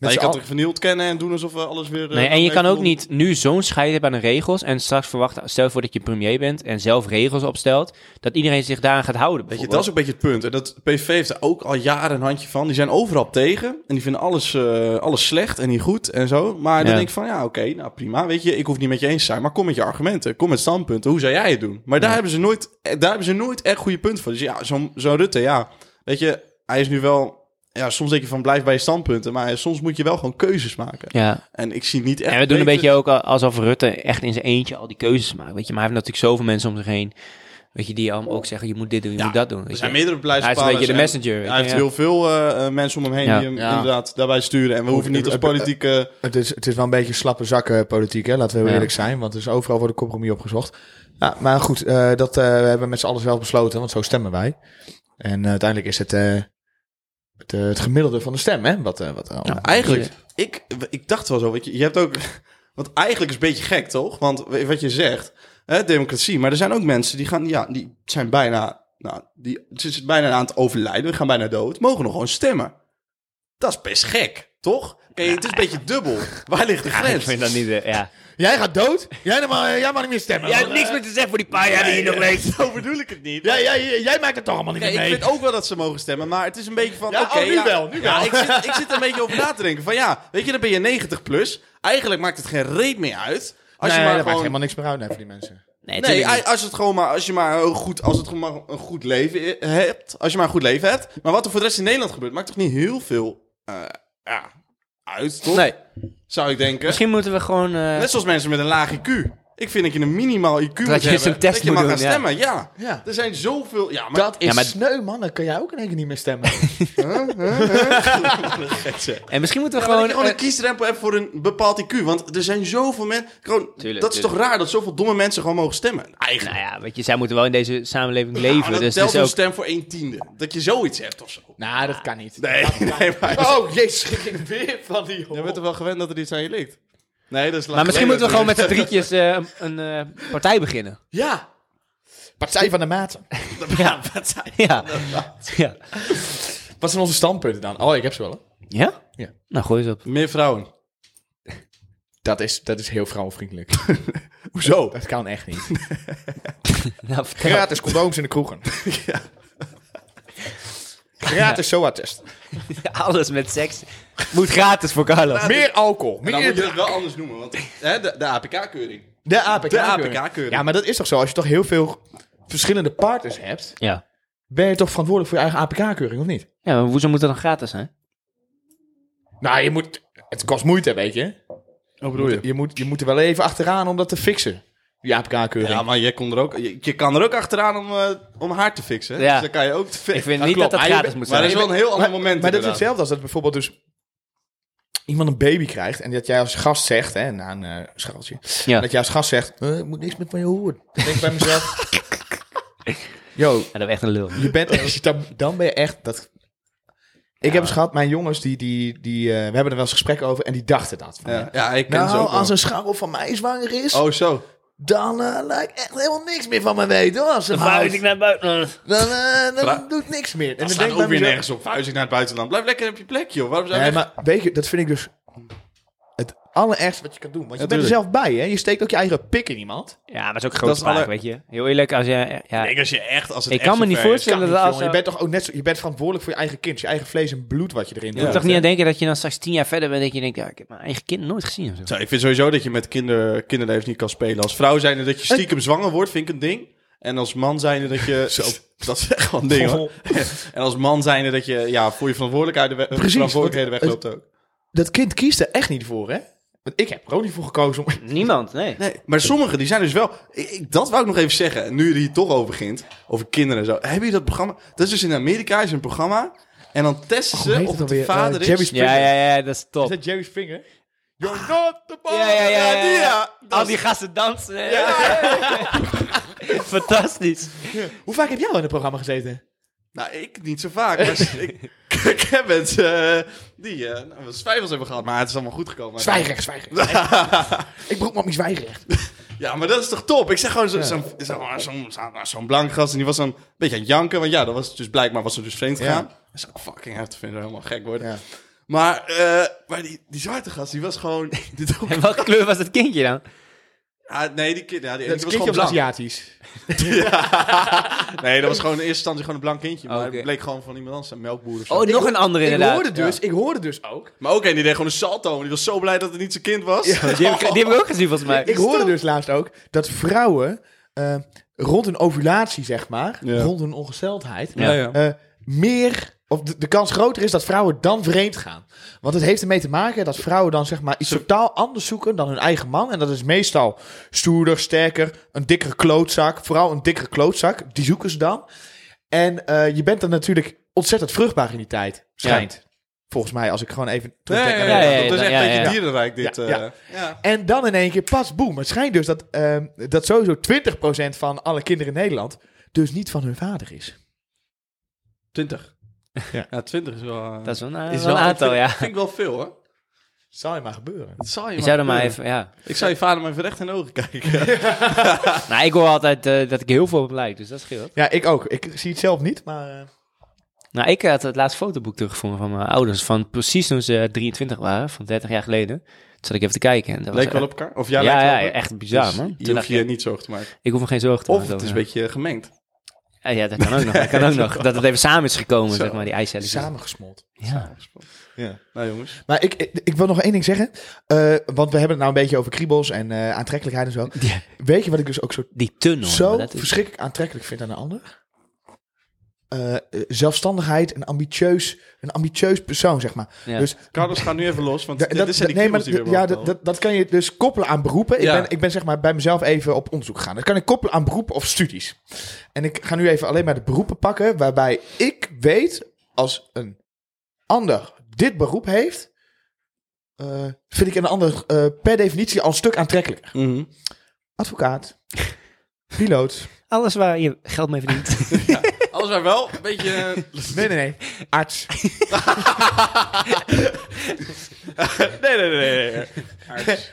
Speaker 3: Met
Speaker 1: nou,
Speaker 3: z'n
Speaker 1: je kan
Speaker 3: al-
Speaker 1: het vernield kennen en doen alsof we alles weer... eh,
Speaker 2: Nee, en je
Speaker 1: even
Speaker 2: kan ook
Speaker 1: doen.
Speaker 2: niet nu zo'n scheid hebben aan de regels en straks verwachten, stel je voor dat je premier bent en zelf regels opstelt, dat iedereen zich daaraan gaat houden.
Speaker 1: Weet je, dat is ook een beetje het punt. En dat PV heeft er ook al jaren een handje van. Die zijn overal tegen. En die vinden alles, eh, alles slecht en niet goed en zo. Maar dan
Speaker 2: Ja.
Speaker 1: denk ik van, ja, oké, nou prima. Weet je, ik hoef niet met je eens te zijn. Maar kom met je argumenten. Kom met standpunten. Hoe zou jij het doen? Maar daar,
Speaker 2: Ja.
Speaker 1: hebben, ze nooit, eh, daar hebben ze nooit echt goede punten voor. Dus ja, zo'n zo'n Rutte, ja. Weet je, hij is nu wel... ja, soms denk je van blijf bij je standpunten, maar soms moet je wel gewoon keuzes maken.
Speaker 2: Ja.
Speaker 1: En ik zie niet echt...
Speaker 2: En we doen een
Speaker 1: beter-
Speaker 2: beetje ook al- alsof Rutte echt in zijn eentje al die keuzes maakt. Weet je, maar hij heeft natuurlijk zoveel mensen om zich heen. Weet je, die allemaal ook zeggen: je moet dit doen, je
Speaker 1: Ja,
Speaker 2: moet dat doen. Weet
Speaker 1: Er
Speaker 2: je.
Speaker 1: zijn meerdere
Speaker 2: hij is een
Speaker 1: beleidsbepalers.
Speaker 2: beetje de
Speaker 1: en-
Speaker 2: messenger. weet
Speaker 1: Hij
Speaker 2: je,
Speaker 1: heeft
Speaker 2: dus ja.
Speaker 1: heel veel eh, eh, mensen om hem heen
Speaker 2: Ja.
Speaker 1: die hem
Speaker 3: Ja.
Speaker 1: inderdaad daarbij sturen. En we hoeven niet als politieke...
Speaker 3: Het is, het is wel een beetje slappe zakken eh, politiek, hè? laten we heel
Speaker 2: Ja.
Speaker 3: eerlijk zijn. Want er is overal wordt een compromis opgezocht. Ja, maar goed, eh, dat eh, hebben we met z'n allen zelf besloten, want zo stemmen wij. En eh, uiteindelijk is het eh, het, eh, het gemiddelde van de stem, hè? Wat, eh, wat,
Speaker 2: Ja.
Speaker 1: Eigenlijk, ik, ik dacht wel zo, weet je, je hebt ook... Want eigenlijk is het een beetje gek, toch? Want we- wat je zegt, hè, democratie. Maar er zijn ook mensen die gaan, ja, die zijn bijna... Nou, die ze zijn bijna aan het overlijden, gaan bijna dood. Mogen nog gewoon stemmen. Dat is best gek, toch? Oké, het is een beetje dubbel. Waar ligt de
Speaker 2: Ik
Speaker 1: grens?
Speaker 2: vind dat niet. eh, ja.
Speaker 3: Jij gaat dood? Jij mag, jij mag niet meer stemmen.
Speaker 2: niks meer te zeggen voor die paar jaar die je nog leeft.
Speaker 1: Zo bedoel ik het niet.
Speaker 3: jij, jij, maakt het toch allemaal niet
Speaker 1: Nee, ik vind ook wel dat ze mogen stemmen, maar het is een beetje van...
Speaker 3: Ja,
Speaker 1: oké,
Speaker 3: oh, nu
Speaker 1: ja,
Speaker 3: wel, nu
Speaker 1: ja,
Speaker 3: wel.
Speaker 1: Ik zit, ik zit er een beetje over na te denken. Van ja, weet je, dan ben je 90 plus. Eigenlijk maakt het geen reet meer uit. Als je maar
Speaker 3: maakt
Speaker 1: gewoon...
Speaker 3: helemaal niks meer uit nee, voor die mensen.
Speaker 1: Nee,
Speaker 2: Nee, tuurlijk niet.
Speaker 1: a- als, het gewoon maar, als je maar een goed, als het gewoon maar een goed leven i- hebt. Als je maar een goed leven hebt. Maar wat er voor de rest in Nederland gebeurt, maakt toch niet heel veel eh, ja, uit, toch?
Speaker 2: Nee.
Speaker 1: Zou ik denken.
Speaker 2: Misschien moeten we gewoon. eh,
Speaker 1: Net zoals mensen met een laag IQ. Ik vind dat je een minimaal IQ moet
Speaker 2: je eens
Speaker 1: hebben.
Speaker 2: een test
Speaker 1: dat je
Speaker 2: moet
Speaker 1: mag
Speaker 2: doen,
Speaker 1: gaan
Speaker 2: ja.
Speaker 1: stemmen, ja.
Speaker 3: Ja.
Speaker 1: Er zijn zoveel... Ja, maar...
Speaker 3: Dat is
Speaker 2: Ja, maar-
Speaker 3: sneu, mannen. Kun jij ook in één keer niet meer stemmen?
Speaker 2: en misschien moeten we
Speaker 1: Ja, maar
Speaker 2: gewoon.
Speaker 1: dat je gewoon
Speaker 2: eh,
Speaker 1: een kiesdrempel hebt voor een bepaald IQ. Want er zijn zoveel mensen... Gewoon,
Speaker 2: Tuurlijk,
Speaker 1: dat is toch
Speaker 2: tuurlijk.
Speaker 1: raar dat zoveel domme mensen gewoon mogen stemmen? Eigenlijk.
Speaker 2: nou ja, weet je, zij moeten wel in deze samenleving
Speaker 1: Nou,
Speaker 2: leven.
Speaker 1: dan
Speaker 2: dus het
Speaker 1: telt
Speaker 2: is
Speaker 1: een
Speaker 2: ook.
Speaker 1: stem voor een tiende. Dat je zoiets hebt of zo.
Speaker 3: nou, dat kan niet.
Speaker 1: Nee, nee, maar...
Speaker 3: Oh, jezus. Ik ging weer van die
Speaker 1: Je bent er wel gewend dat er iets aan je ligt. Nee, dat is
Speaker 2: Maar misschien moeten we gewoon met z'n drietjes eh, een- een eh, partij beginnen.
Speaker 3: Ja. Partij van de Maten.
Speaker 2: Ja, ja. ja.
Speaker 3: Wat zijn onze standpunten dan? Oh, ik heb ze wel. hè.
Speaker 2: Ja?
Speaker 3: Ja.
Speaker 2: Nou, gooi eens op.
Speaker 1: Meer vrouwen.
Speaker 3: Dat is, dat is heel vrouwenvriendelijk.
Speaker 1: Hoezo?
Speaker 3: dat kan echt niet.
Speaker 2: Nou, vertel.
Speaker 3: Gratis condooms in de kroegen. Gratis SOA-test.
Speaker 2: Alles met seks moet gratis voor Carlo.
Speaker 3: Meer alcohol.
Speaker 1: Dan moet je
Speaker 3: Meer
Speaker 1: het wel anders noemen, want hè, de, de APK-keuring.
Speaker 3: de APK.
Speaker 1: De APK-keuring.
Speaker 3: Ja, maar dat is toch zo? Als je toch heel veel verschillende partners hebt,
Speaker 2: Ja.
Speaker 3: ben je toch verantwoordelijk voor je eigen APK-keuring, of niet?
Speaker 2: Ja, maar hoezo moet dat dan gratis zijn?
Speaker 3: Nou, je moet... Het kost moeite, weet je.
Speaker 1: Wat
Speaker 3: Je moet, je moet er wel even achteraan om dat te fixen. Die APK-keuring.
Speaker 1: Ja, maar jij kon er ook, je, je kan er ook achteraan om, eh, om haar te fixen.
Speaker 2: Ja.
Speaker 1: Dus dan kan je ook te fi-
Speaker 2: Ik vind
Speaker 3: dat
Speaker 2: niet
Speaker 3: klopt.
Speaker 2: dat
Speaker 3: Maar
Speaker 2: dat
Speaker 3: je
Speaker 2: gratis
Speaker 3: bent-
Speaker 2: moet
Speaker 1: Maar
Speaker 2: zijn.
Speaker 1: dat is wel een heel ander
Speaker 3: Maar-
Speaker 1: moment.
Speaker 3: Maar dat is
Speaker 1: inderdaad.
Speaker 3: hetzelfde als dat bijvoorbeeld dus iemand een baby krijgt en dat jij als gast zegt, hè, na een eh, schaaltje,
Speaker 2: Ja.
Speaker 3: dat jij als gast zegt, eh, ik moet niks met van je horen. Dan denk ik bij mezelf, yo,
Speaker 2: Ja, dat is echt een lul.
Speaker 3: je bent echt, dan, dan ben je echt, dat... Ik heb eens gehad, mijn jongens, die, die, die, eh, we hebben er wel eens gesprek over en die dachten dat. Van,
Speaker 1: Ja, ja ik ken ze
Speaker 3: Nou,
Speaker 1: ook wel.
Speaker 3: als een scharrel van mij zwanger is,
Speaker 1: Oh, zo.
Speaker 3: dan eh, lijkt echt helemaal niks meer van me weten. Hoor. Als ze houdt,
Speaker 2: naar buiten.
Speaker 3: dan eh, dan
Speaker 1: Vra-
Speaker 3: doet niks meer. En
Speaker 1: Dat
Speaker 3: dan
Speaker 1: staat
Speaker 3: denk ik bij
Speaker 1: ook weer
Speaker 3: mezelf,
Speaker 1: nergens op. Verhuizing naar het buitenland. Blijf lekker op je plek, joh. Waarom zou
Speaker 3: Nee,
Speaker 1: je...
Speaker 3: maar weet je, dat vind ik dus het allerergste wat je kan doen. Want je
Speaker 1: Ja,
Speaker 3: bent er
Speaker 1: tuurlijk.
Speaker 3: zelf bij, hè? Je steekt ook je eigen pik in iemand.
Speaker 2: Ja, maar dat is ook
Speaker 1: Dat
Speaker 2: groot
Speaker 1: is
Speaker 2: spaak,
Speaker 1: alle-
Speaker 2: weet je. Heel eerlijk, als je... Ja,
Speaker 1: Ik denk als je echt... Als het
Speaker 2: ik
Speaker 1: echt
Speaker 2: kan me niet
Speaker 1: zover is.
Speaker 2: voorstellen
Speaker 3: Kan
Speaker 2: dat
Speaker 3: niet,
Speaker 2: als...
Speaker 3: jongen. je bent toch ook net zo, je bent verantwoordelijk voor je eigen kind, je eigen vlees en bloed wat je erin
Speaker 1: Ja.
Speaker 2: Je moet
Speaker 3: doet.
Speaker 2: toch niet aan denken dat je dan straks tien jaar verder bent... dat je denkt, ja, ik heb mijn eigen kind nooit gezien of zo.
Speaker 1: Zo, ik vind sowieso dat je met kinder, kinderlevens niet kan spelen. Als vrouw zijnde dat je stiekem zwanger wordt, vind ik een ding. En als man zijnde dat je... Zo. Dat is echt wel een ding, hoor. En als man zijnde dat je ja, voor je verantwoordelijkheid de we- verantwoordelijkheden
Speaker 3: want-
Speaker 1: wegloopt ook.
Speaker 3: Dat kind kiest er echt niet voor, hè? Want ik heb er ook niet voor gekozen om...
Speaker 2: Niemand, nee.
Speaker 1: Nee, maar sommigen die zijn dus wel... ik- ik- dat wou ik nog even zeggen, nu je er hier toch over begint. Over kinderen en zo. Hebben jullie dat programma? Dat is dus in Amerika, is een programma. En dan testen
Speaker 3: hoe
Speaker 1: ze
Speaker 3: heet
Speaker 1: of
Speaker 3: het
Speaker 1: de
Speaker 3: alweer?
Speaker 1: vader
Speaker 3: Eh,
Speaker 1: is...
Speaker 3: Jerry Springer.
Speaker 2: Ja, ja, ja, dat is top.
Speaker 3: dat Jerry Springer? You're not the boy!
Speaker 2: Ja, ja, ja, ja,
Speaker 1: die, ja.
Speaker 2: Al die gasten dansen. hè. Fantastisch.
Speaker 3: Hoe vaak heb jij al in het programma gezeten?
Speaker 1: Nou, ik niet zo vaak. Maar ik, ik heb mensen eh, die eh nou, wat twijfels hebben gehad. Maar het is allemaal goed gekomen.
Speaker 3: Zwijgrecht, zwijgrecht. ik broek me op mijn zwijgrecht.
Speaker 1: Ja, maar dat is toch top? Ik zeg gewoon zo- zo'n zo, zo, zo, zo'n blank gast. En die was dan een beetje aan het janken. Want ja, dat was dus blijkbaar was ze dus vreemd
Speaker 3: Ja.
Speaker 1: gegaan. Dat zou ik fucking heftig vinden. Helemaal gek worden.
Speaker 3: Ja.
Speaker 1: Maar, eh, maar die, die zwarte gast, die was gewoon... Die droeg-
Speaker 2: En welke kleur was dat kindje dan?
Speaker 1: Ah, nee, die, kind- ja, die,
Speaker 3: Dat
Speaker 1: die was
Speaker 3: kindje
Speaker 1: gewoon
Speaker 3: was
Speaker 1: blank.
Speaker 3: Aziatisch.
Speaker 1: Nee, dat was gewoon in eerste instantie gewoon een blank kindje.
Speaker 3: Oh,
Speaker 1: Maar
Speaker 2: Oké.
Speaker 1: het bleek gewoon van iemand anders. Een melkboer of zo.
Speaker 2: Oh, nog een andere
Speaker 3: Ik
Speaker 2: inderdaad.
Speaker 3: hoorde dus, ik hoorde dus ook
Speaker 1: Maar ook en die deed gewoon een salto. En die was zo blij dat het niet zijn kind was.
Speaker 2: Die heb, ik, die heb ik ook gezien volgens mij.
Speaker 3: Ik hoorde dus laatst ook dat vrouwen eh, rond een ovulatie, zeg maar,
Speaker 1: Ja.
Speaker 3: rond een ongesteldheid,
Speaker 2: Ja.
Speaker 3: eh, meer of de, de kans groter is dat vrouwen dan vreemd gaan. Want het heeft ermee te maken dat vrouwen dan zeg maar iets totaal anders zoeken dan hun eigen man. En dat is meestal stoerder, sterker, een dikkere klootzak. Vooral een dikkere klootzak, die zoeken ze dan. En eh, je bent dan natuurlijk ontzettend vruchtbaar in die tijd, schijnt. Volgens mij, als ik gewoon even terugkijk naar
Speaker 1: Nee,
Speaker 3: de-
Speaker 2: ja, ja,
Speaker 1: dat is echt
Speaker 2: ja,
Speaker 1: een
Speaker 2: ja, ja.
Speaker 1: beetje dierenrijk dit.
Speaker 3: Ja,
Speaker 1: eh,
Speaker 3: ja.
Speaker 1: ja.
Speaker 3: En dan in één keer pas, boem. Het schijnt dus dat, ehm, dat sowieso 20% van alle kinderen in Nederland dus niet van hun vader is.
Speaker 1: 20.
Speaker 3: Ja.
Speaker 1: Ja. 20 is wel... eh,
Speaker 2: Dat is wel een,
Speaker 1: is
Speaker 2: wel een aantal,
Speaker 1: vind,
Speaker 2: ja.
Speaker 1: Vind ik wel veel, hoor.
Speaker 3: Zal je maar gebeuren.
Speaker 1: Dat zal je
Speaker 2: Je zou er maar
Speaker 1: gebeuren.
Speaker 2: even, ja.
Speaker 1: Ik zou je vader maar even recht in de ogen kijken.
Speaker 2: Nou, ik hoor altijd eh, dat ik heel veel op lijk, dus dat scheelt.
Speaker 3: Ja, ik ook. Ik zie het zelf niet, maar... eh,
Speaker 2: Nou, ik had het laatste fotoboek teruggevonden van mijn ouders. Van precies toen ze 23 waren, van 30 jaar geleden. Toen zat ik even te kijken. En dat was
Speaker 1: Leek wel
Speaker 2: echt-
Speaker 1: op elkaar? Of
Speaker 2: Ja,
Speaker 1: jij
Speaker 2: ja,
Speaker 1: lijkt wel op elkaar?
Speaker 2: echt bizar,
Speaker 1: Dus
Speaker 2: man.
Speaker 1: Je
Speaker 2: Toen
Speaker 1: hoeft
Speaker 2: dacht
Speaker 1: je
Speaker 2: ik,
Speaker 1: niet zorg te maken.
Speaker 2: ik hoef me geen zorgen te
Speaker 1: Of
Speaker 2: maken
Speaker 1: het is een
Speaker 2: over-
Speaker 1: beetje gemengd.
Speaker 2: Ah, Ja, dat kan ook nog. Dat kan ook nog. Dat het even samen is gekomen,
Speaker 1: Zo.
Speaker 2: zeg maar, die eicelletjes.
Speaker 3: Samengesmolten.
Speaker 2: Ja.
Speaker 1: Ja. Nou, jongens.
Speaker 3: Maar ik, ik, ik wil nog één ding zeggen. eh, want we hebben het nou een beetje over kriebels en eh, aantrekkelijkheid en zo.
Speaker 2: Die,
Speaker 3: Weet je wat ik dus ook zo,
Speaker 2: die tunnel.
Speaker 3: zo
Speaker 2: Nou, maar dat is-
Speaker 3: verschrikkelijk aantrekkelijk vind aan een ander? Eh, eh, zelfstandigheid, een ambitieus, een ambitieus persoon, zeg maar.
Speaker 2: Ja.
Speaker 3: Dus
Speaker 1: Carlos, ga nu even los, want
Speaker 3: Da-
Speaker 1: dit,
Speaker 3: dat-
Speaker 1: dit zijn die
Speaker 3: nee, maar
Speaker 1: kriebels die we
Speaker 3: d- ja,
Speaker 1: hebben
Speaker 3: dat,
Speaker 1: opgehaald.
Speaker 3: dat, dat kan je dus koppelen aan beroepen.
Speaker 1: Ja.
Speaker 3: Ik, ben, ik ben zeg maar bij mezelf even op onderzoek gegaan. Dat kan ik koppelen aan beroepen of studies. En ik ga nu even alleen maar de beroepen pakken waarbij ik weet als een ander dit beroep heeft, eh, vind ik een ander eh, per definitie al een stuk aantrekkelijker.
Speaker 1: Mhm.
Speaker 3: Advocaat, piloot.
Speaker 2: Alles waar je geld mee verdient.
Speaker 1: Alles maar wel een beetje... eh,
Speaker 3: Nee, nee, nee. Arts.
Speaker 1: nee, nee, nee. nee. Arts.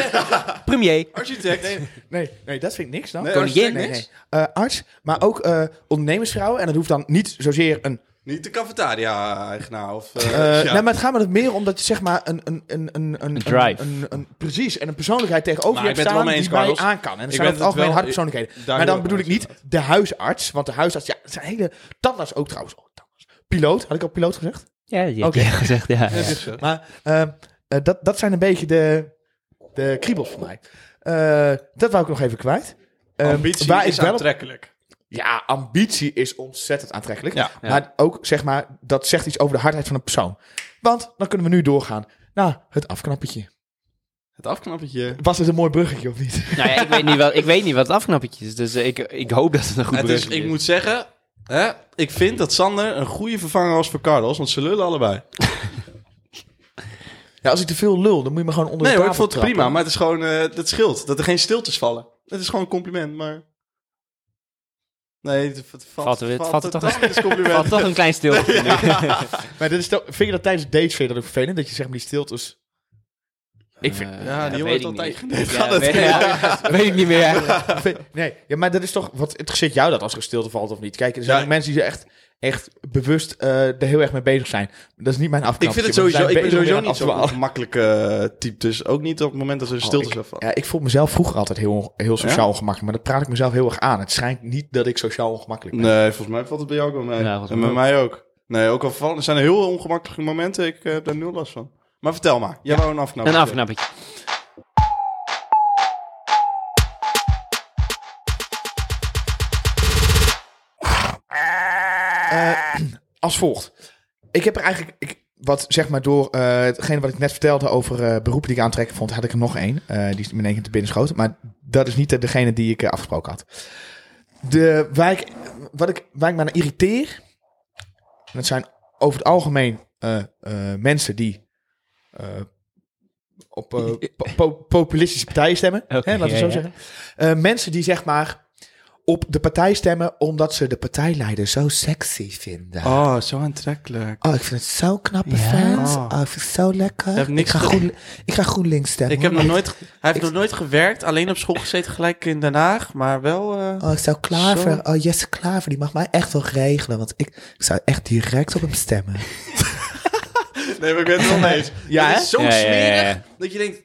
Speaker 2: Premier.
Speaker 1: Architect. Nee,
Speaker 3: Nee, nee, dat vind ik niks dan.
Speaker 1: Nee,
Speaker 2: Koningin.
Speaker 1: architect
Speaker 3: Nee,
Speaker 1: niks.
Speaker 3: nee. Eh, arts, maar ook eh ondernemersvrouwen. En dat hoeft dan niet zozeer een
Speaker 1: Niet de cafetaria-eigenaar of... eh,
Speaker 3: Eh,
Speaker 1: ja.
Speaker 3: Nee, maar het gaat me het meer om dat je zeg maar een, een, een, een, een
Speaker 2: drive.
Speaker 3: Een, een, een- precies, en een persoonlijkheid tegenover
Speaker 1: Maar
Speaker 3: je
Speaker 1: ik
Speaker 3: hebt
Speaker 1: ben het
Speaker 3: staan
Speaker 1: wel mee
Speaker 3: die
Speaker 1: eens,
Speaker 3: mij
Speaker 1: Carlos.
Speaker 3: aan kan. En
Speaker 1: Ik
Speaker 3: dat zijn
Speaker 1: ben het
Speaker 3: over het algemeen
Speaker 1: wel-
Speaker 3: harde persoonlijkheden.
Speaker 1: daar
Speaker 3: maar
Speaker 1: heel
Speaker 3: dan
Speaker 1: erg
Speaker 3: bedoel ik
Speaker 1: mee eens,
Speaker 3: niet de huisarts, want de huisarts, ja, het zijn hele tandarts ook trouwens. Oh, tandarts. Piloot, had ik al piloot gezegd?
Speaker 2: Ja, die heb
Speaker 3: Oké.
Speaker 2: je gezegd, ja.
Speaker 1: Ja, dit is het.
Speaker 3: Maar eh, eh, dat, dat zijn een beetje de, de kriebels voor mij. Eh, dat wou ik nog even kwijt. Eh,
Speaker 1: Ambitie
Speaker 3: waar ik
Speaker 1: is
Speaker 3: wel op-
Speaker 1: aantrekkelijk.
Speaker 3: ja, ambitie is ontzettend aantrekkelijk.
Speaker 1: Ja.
Speaker 2: Ja.
Speaker 3: Maar ook, zeg maar, dat zegt iets over de hardheid van een persoon. Want dan kunnen we nu doorgaan naar het afknappetje.
Speaker 1: Het afknappetje.
Speaker 3: Was het een mooi bruggetje of niet?
Speaker 2: Nou ja, ik weet niet wat, ik weet niet wat het afknappetje is. Dus eh, ik, ik hoop dat het een goed
Speaker 1: Het is,
Speaker 2: bruggetje is.
Speaker 1: ik moet zeggen, hè, ik vind dat Sander een goede vervanger was voor Carlos, want ze lullen allebei.
Speaker 3: Ja, als ik te veel lul, dan moet je me gewoon onder
Speaker 1: Nee
Speaker 3: de
Speaker 1: hoor, ik
Speaker 3: tafel
Speaker 1: vond het
Speaker 3: trappen.
Speaker 1: prima, maar het is gewoon, eh dat scheelt. Dat er geen stiltes vallen. Het is gewoon een compliment, maar... Nee, het, het valt,
Speaker 2: Valt er weer- het valt er toch-
Speaker 1: dan is compliment.
Speaker 2: Valt toch een klein stilte nu.
Speaker 3: Maar dit is toch- vind je dat tijdens dates vind je dat ook vervelend? Dat je zeg maar die stiltes... Ik vind...
Speaker 2: Eh,
Speaker 1: Ja, die jongen
Speaker 2: weet
Speaker 1: heeft
Speaker 2: ik
Speaker 1: altijd
Speaker 2: niet.
Speaker 1: geneukt.
Speaker 2: Ja,
Speaker 1: Gaat het-
Speaker 2: weet, ja, weet ik niet meer.
Speaker 3: vind- nee, ja, maar dat is toch... Wat interesseert jou dat als er een stilte valt of niet? Kijk, er zijn
Speaker 1: Ja.
Speaker 3: ook mensen die er echt, echt bewust eh, er heel erg mee bezig zijn. Dat is niet mijn
Speaker 1: Ik
Speaker 3: afknappetje.
Speaker 1: vind het
Speaker 3: want
Speaker 1: sowieso,
Speaker 3: we
Speaker 1: ik ben
Speaker 3: zijn
Speaker 1: sowieso
Speaker 3: bezig om weer
Speaker 1: niet
Speaker 3: aan af te
Speaker 1: zo'n gemakkelijke type. Dus ook niet op het moment dat er stiltes
Speaker 3: ik-
Speaker 1: oh, vallen.
Speaker 3: Ja, ik vond mezelf vroeger altijd heel, on- heel sociaal
Speaker 1: Ja?
Speaker 3: ongemakkelijk. Maar dat praat ik mezelf heel erg aan. Het schijnt niet dat ik sociaal ongemakkelijk ben.
Speaker 1: Nee, volgens mij valt het bij jou ook wel mee.
Speaker 2: Ja, volgens
Speaker 1: en
Speaker 2: mij
Speaker 1: bij mij ook. Nee, ook al vallen, er zijn heel ongemakkelijke momenten. Ik eh, heb daar nul last van. Maar vertel maar, jij wou een afknapper.
Speaker 2: Een afknappetje.
Speaker 3: Eh, Als volgt. Ik heb er eigenlijk... Ik, wat zeg maar door eh hetgene wat ik net vertelde over eh, beroepen die ik aantrekken vond, had ik er nog één. Eh, die is me in één keer te binnen schoten. Maar dat is niet eh, degene die ik eh, afgesproken had. De, waar, ik, wat ik, waar ik me aan irriteer, en dat zijn over het algemeen eh, eh, mensen die eh, op eh, po- po- populistische partijen stemmen.
Speaker 2: Oké,
Speaker 3: hè, laten we
Speaker 2: ja,
Speaker 3: zo
Speaker 2: ja.
Speaker 3: zeggen. Eh, mensen die zeg maar op de partij stemmen omdat ze de partijleider zo sexy vinden. Oh,
Speaker 1: Oh, zo aantrekkelijk.
Speaker 3: ik vind het zo knappe
Speaker 2: Ja.
Speaker 3: fans.
Speaker 1: Oh.
Speaker 3: Oh. ik vind het zo lekker.
Speaker 1: Je hebt niks
Speaker 3: ik,
Speaker 1: te-
Speaker 3: ga groen, ik ga GroenLinks stemmen.
Speaker 1: Ik heb nog
Speaker 3: hoor.
Speaker 1: nooit, hij heeft nog nooit gewerkt, alleen op school gezeten, gelijk in Den Haag, maar wel... eh,
Speaker 3: Oh, ik zou Klaver,
Speaker 1: Zo.
Speaker 3: oh Jesse Klaver, die mag mij echt wel regelen. Want ik, ik zou echt direct op hem stemmen.
Speaker 1: Nee, maar ik ben het wel mee eens.
Speaker 3: Ja,
Speaker 1: het
Speaker 3: hè?
Speaker 1: is zo
Speaker 2: Ja, ja,
Speaker 1: smerig
Speaker 2: ja, ja.
Speaker 1: dat je denkt...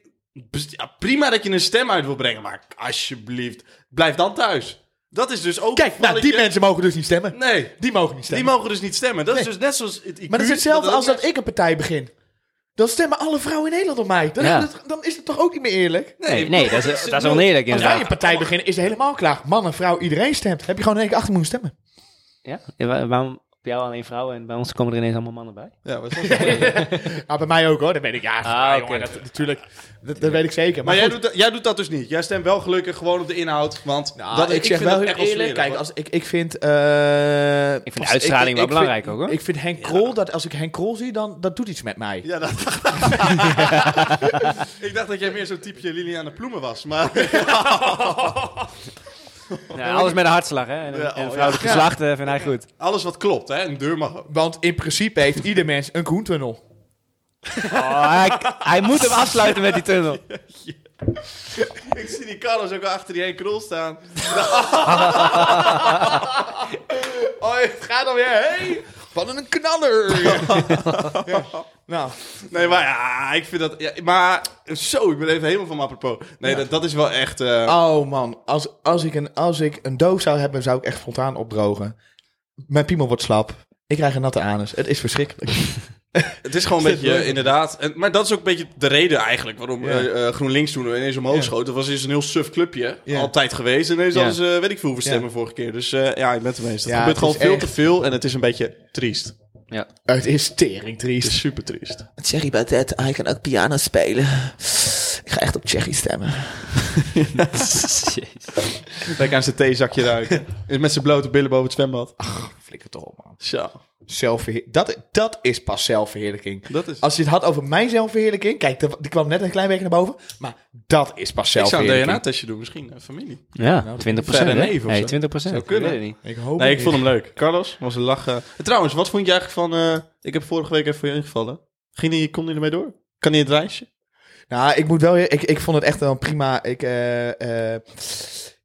Speaker 1: best- ja, prima dat je een stem uit wil brengen, maar alsjeblieft, blijf dan thuis. Dat is dus ook...
Speaker 3: Kijk,
Speaker 1: een
Speaker 3: nou, die
Speaker 1: valletje.
Speaker 3: mensen mogen dus niet stemmen.
Speaker 1: Nee,
Speaker 3: Die mogen niet stemmen.
Speaker 1: die mogen dus niet stemmen. Dat is
Speaker 3: Nee.
Speaker 1: dus net zoals... Het IQ,
Speaker 3: maar dat is hetzelfde
Speaker 1: ook
Speaker 3: als dat ik een partij begin. Dan stemmen alle vrouwen in Nederland op mij. Dan,
Speaker 2: Ja.
Speaker 3: is het- dan is het toch ook niet meer eerlijk?
Speaker 2: Nee, nee dat, is, dat is oneerlijk
Speaker 3: Als wij
Speaker 2: inderdaad.
Speaker 3: een partij beginnen, is het helemaal klaar. Man en vrouw, iedereen stemt. Heb je gewoon in één keer achter moeten stemmen.
Speaker 2: Ja? Ja, wa- waarom? Bij jou alleen vrouwen en bij ons komen er ineens allemaal mannen bij.
Speaker 1: Ja, maar,
Speaker 3: Ah, bij mij ook hoor, dat weet ik. Ja,
Speaker 2: Ah,
Speaker 3: jongen,
Speaker 2: oké.
Speaker 3: dat, natuurlijk. Dat, dat weet ik zeker. Maar,
Speaker 1: jij,
Speaker 3: goed.
Speaker 1: doet dat, jij doet dat dus niet. Jij stemt wel gelukkig gewoon op de inhoud. Want
Speaker 3: Nou,
Speaker 1: dat,
Speaker 3: ik, zeg
Speaker 1: Ah, vind
Speaker 3: wel
Speaker 1: dat
Speaker 3: heel
Speaker 1: echt wel
Speaker 3: eerlijk.
Speaker 1: smerig,
Speaker 3: Kijk,
Speaker 1: hoor.
Speaker 3: als, ik, ik vind... eh,
Speaker 2: Ik vind
Speaker 3: als-
Speaker 2: uitstraling wel
Speaker 3: vind-
Speaker 2: belangrijk ook, hoor.
Speaker 3: Ik vind Henk Krol, dat als ik Henk Krol zie, dan dat doet iets met mij.
Speaker 1: Ja, dat ik dacht dat jij meer zo'n typeje Liliane Ploemen was. Maar
Speaker 2: Ja, alles met een hartslag, hè? En,
Speaker 1: Ja, oh,
Speaker 2: en
Speaker 1: ja.
Speaker 2: vrouwelijk geslacht eh, vind hij goed.
Speaker 1: alles wat klopt, hè. Een deur mag ook.
Speaker 3: Want in principe heeft ieder mens een koentunnel.
Speaker 2: Oh, hij, hij moet hem afsluiten met die tunnel.
Speaker 1: Ik zie die Carlos ook al achter die heen krol staan. oh, het gaat alweer heen.
Speaker 3: Wat een knaller! ja. Nou,
Speaker 1: Nee, maar ja, ik vind dat... Ja, maar zo, ik ben even helemaal van mijn apropos. Nee, dat, dat is wel echt... eh,
Speaker 3: oh man. Als, als, ik een, als ik een doos zou hebben, zou ik echt spontaan opdrogen. Mijn piemel wordt slap. Ik krijg een natte anus. Het is verschrikkelijk.
Speaker 1: Het is gewoon een
Speaker 3: Is dit
Speaker 1: beetje,
Speaker 3: leuk?
Speaker 1: inderdaad... En, maar dat is ook een beetje de reden eigenlijk waarom
Speaker 3: Ja.
Speaker 1: eh, eh, GroenLinks toen ineens omhoog
Speaker 3: Ja.
Speaker 1: schoot. Dat was dus een heel suf clubje.
Speaker 3: Ja.
Speaker 1: Altijd geweest. En ineens
Speaker 2: Ja.
Speaker 1: hadden ze, eh, weet ik veel, hoeveel
Speaker 3: Ja.
Speaker 1: stemmen vorige keer. Dus eh, ja, ik ben het ermee eens. Het
Speaker 3: Ja,
Speaker 1: gebeurt
Speaker 3: het is
Speaker 1: gewoon veel
Speaker 3: echt-
Speaker 1: te veel en het is een beetje triest.
Speaker 3: Het is tering
Speaker 1: Het
Speaker 3: triest.
Speaker 1: is super triest.
Speaker 5: Thierry Baudet, hij kan ook piano spelen. Ik ga echt op Thierry stemmen.
Speaker 1: Kijk aan zijn theezakje ruiken. En Met zijn blote billen boven het zwembad.
Speaker 3: Flikker toch op, man.
Speaker 1: Zo,
Speaker 3: Zelfverheer- dat, dat is pas zelfverheerlijking.
Speaker 1: dat is...
Speaker 3: Als je het had over mijn zelfverheerlijking. Kijk, dat- die kwam net een klein beetje naar boven. Maar dat is pas
Speaker 1: Ik zou een
Speaker 3: zelfverheerlijking.
Speaker 1: DNA-testje doen, misschien. eh, familie.
Speaker 2: Ja, 20
Speaker 1: verre
Speaker 2: procent.
Speaker 1: neef of
Speaker 2: Nee,
Speaker 1: zo.
Speaker 2: 20 procent.
Speaker 1: Zou kunnen.
Speaker 3: Ik hoop
Speaker 1: Nee,
Speaker 3: het
Speaker 1: ik vond
Speaker 3: niet.
Speaker 1: hem leuk. Carlos, was een lach. eh. En Trouwens, wat vond je eigenlijk van... eh, ik heb vorige week even voor je ingevallen. Ging die, kon hij ermee door? Kan hij het reisje?
Speaker 3: Nou, ik moet wel. Ik, ik vond het echt wel prima. Ik, eh, eh,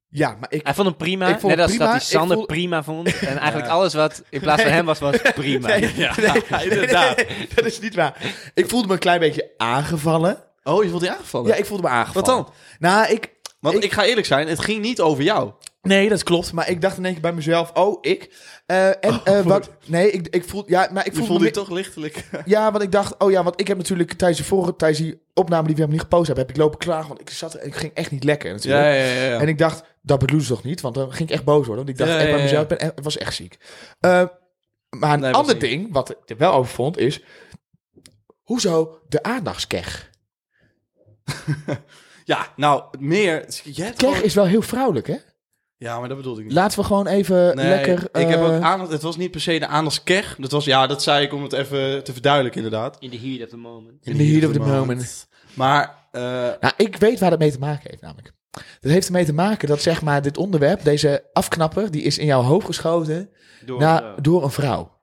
Speaker 3: ja, maar ik.
Speaker 2: Hij vond hem prima,
Speaker 3: Ik
Speaker 2: net
Speaker 3: vond hem
Speaker 2: als dat
Speaker 3: prima.
Speaker 2: hij Sander
Speaker 3: Ik voel-
Speaker 2: prima vond. En eigenlijk alles wat in plaats van hem was, was prima.
Speaker 1: Ja,
Speaker 3: Nee, nee, nee, dat is niet waar. Ik voelde me een klein beetje aangevallen.
Speaker 1: Oh, je vond die aangevallen?
Speaker 3: Ja, ik voelde me aangevallen.
Speaker 1: Wat dan?
Speaker 3: Nou, ik.
Speaker 1: Want ik,
Speaker 3: Ik-
Speaker 1: ga eerlijk zijn, het ging niet over jou.
Speaker 3: Nee, dat klopt. Maar ik dacht in één keer bij mezelf. Oh, ik. Eh, en eh, wat. Nee, ik, ik voel. Ja, maar ik
Speaker 1: Oh, Je
Speaker 3: voelde
Speaker 1: vond
Speaker 3: me
Speaker 1: dit toch lichtelijk.
Speaker 3: Ja, want ik dacht, oh ja, want ik heb natuurlijk tijdens de vorige, tijdens die opname die we helemaal niet gepost hebben, heb ik lopen klagen, want ik zat er en ik ging echt niet lekker natuurlijk.
Speaker 1: ja, ja.
Speaker 3: En ik dacht, dat bedoelen ze toch niet, want dan ging ik echt boos worden, want ik dacht
Speaker 1: Ja,
Speaker 3: echt
Speaker 1: ja,
Speaker 3: bij
Speaker 1: ja.
Speaker 3: mezelf, ik ben, echt- ik was echt ziek. Eh, maar een
Speaker 1: Nee, was
Speaker 3: ander
Speaker 1: niet.
Speaker 3: ding, wat ik er wel over vond, is, hoezo de aandachtskeg?
Speaker 1: Ja, nou, meer. Je hebt
Speaker 3: Keg
Speaker 1: gewoon-
Speaker 3: is wel heel vrouwelijk, hè?
Speaker 1: Ja, maar dat bedoelde ik niet.
Speaker 3: Laten we gewoon even
Speaker 1: Nee,
Speaker 3: lekker...
Speaker 1: ik heb
Speaker 3: eh,
Speaker 1: ook aandacht. Het was niet per se de aandachtskeg. Dat was, ja, dat zei ik om het even te verduidelijken, inderdaad.
Speaker 2: In the heat of the moment.
Speaker 3: In the heat of the moment.
Speaker 1: Maar, eh,
Speaker 3: Nou, ik weet waar dat mee te maken heeft namelijk. Dat heeft ermee te maken dat zeg maar dit onderwerp, deze afknapper, die is in jouw hoofd geschoten
Speaker 2: Door, eh,
Speaker 3: na, door een vrouw.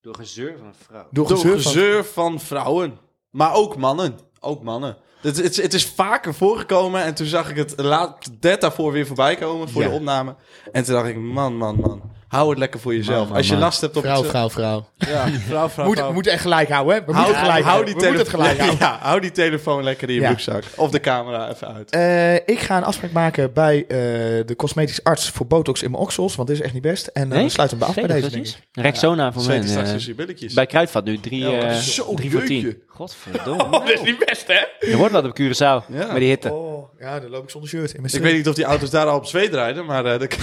Speaker 2: door gezeur van een vrouw.
Speaker 3: Door
Speaker 1: eh, door
Speaker 3: gezeur van-
Speaker 1: gezeur van vrouwen. Maar ook mannen. Ook mannen. Het, het, het is vaker voorgekomen en toen zag ik het laat net daarvoor weer voorbij komen voor
Speaker 3: Ja.
Speaker 1: de opname. En toen dacht ik, man, man, man. Hou het lekker voor jezelf.
Speaker 3: man,
Speaker 1: Als je
Speaker 3: man.
Speaker 1: last hebt op
Speaker 3: Vrouw,
Speaker 1: het...
Speaker 3: vrouw, vrouw.
Speaker 1: Ja, vrouw, vrouw,
Speaker 3: Moet,
Speaker 1: vrouw.
Speaker 3: moet echt gelijk houden, hè? We
Speaker 1: Hou,
Speaker 3: moeten gelijk
Speaker 1: hou
Speaker 3: houden.
Speaker 1: die
Speaker 3: We moeten het
Speaker 1: telefoon.
Speaker 3: gelijk houden.
Speaker 1: Ja, hou die telefoon lekker in je
Speaker 3: Ja.
Speaker 1: broekzak. Of de camera even uit.
Speaker 3: Eh, ik ga een afspraak maken bij eh, de cosmetisch arts voor botox in mijn oksels, want dit is echt niet best. En eh,
Speaker 2: Nee?
Speaker 3: sluit hem bij af bij
Speaker 2: Zeker,
Speaker 3: deze,
Speaker 2: dat
Speaker 3: denk
Speaker 2: is?
Speaker 3: ik.
Speaker 2: Rexona voor
Speaker 1: Zeker
Speaker 2: mij.
Speaker 1: straks
Speaker 2: eh,
Speaker 1: tussen je billetjes.
Speaker 2: Bij Kruidvat nu, drie,
Speaker 1: Ja,
Speaker 2: eh,
Speaker 1: zo,
Speaker 2: drie voor
Speaker 1: jeukje.
Speaker 2: tien. Godverdomme.
Speaker 3: Dat is niet best, hè?
Speaker 2: Er wordt wat op Curaçao,
Speaker 1: Ja.
Speaker 2: met die hitte.
Speaker 3: Oh, ja, dan loop ik zonder shirt in mijn
Speaker 1: Ik weet niet of die auto's daar al op zweet rijden, maar eh dat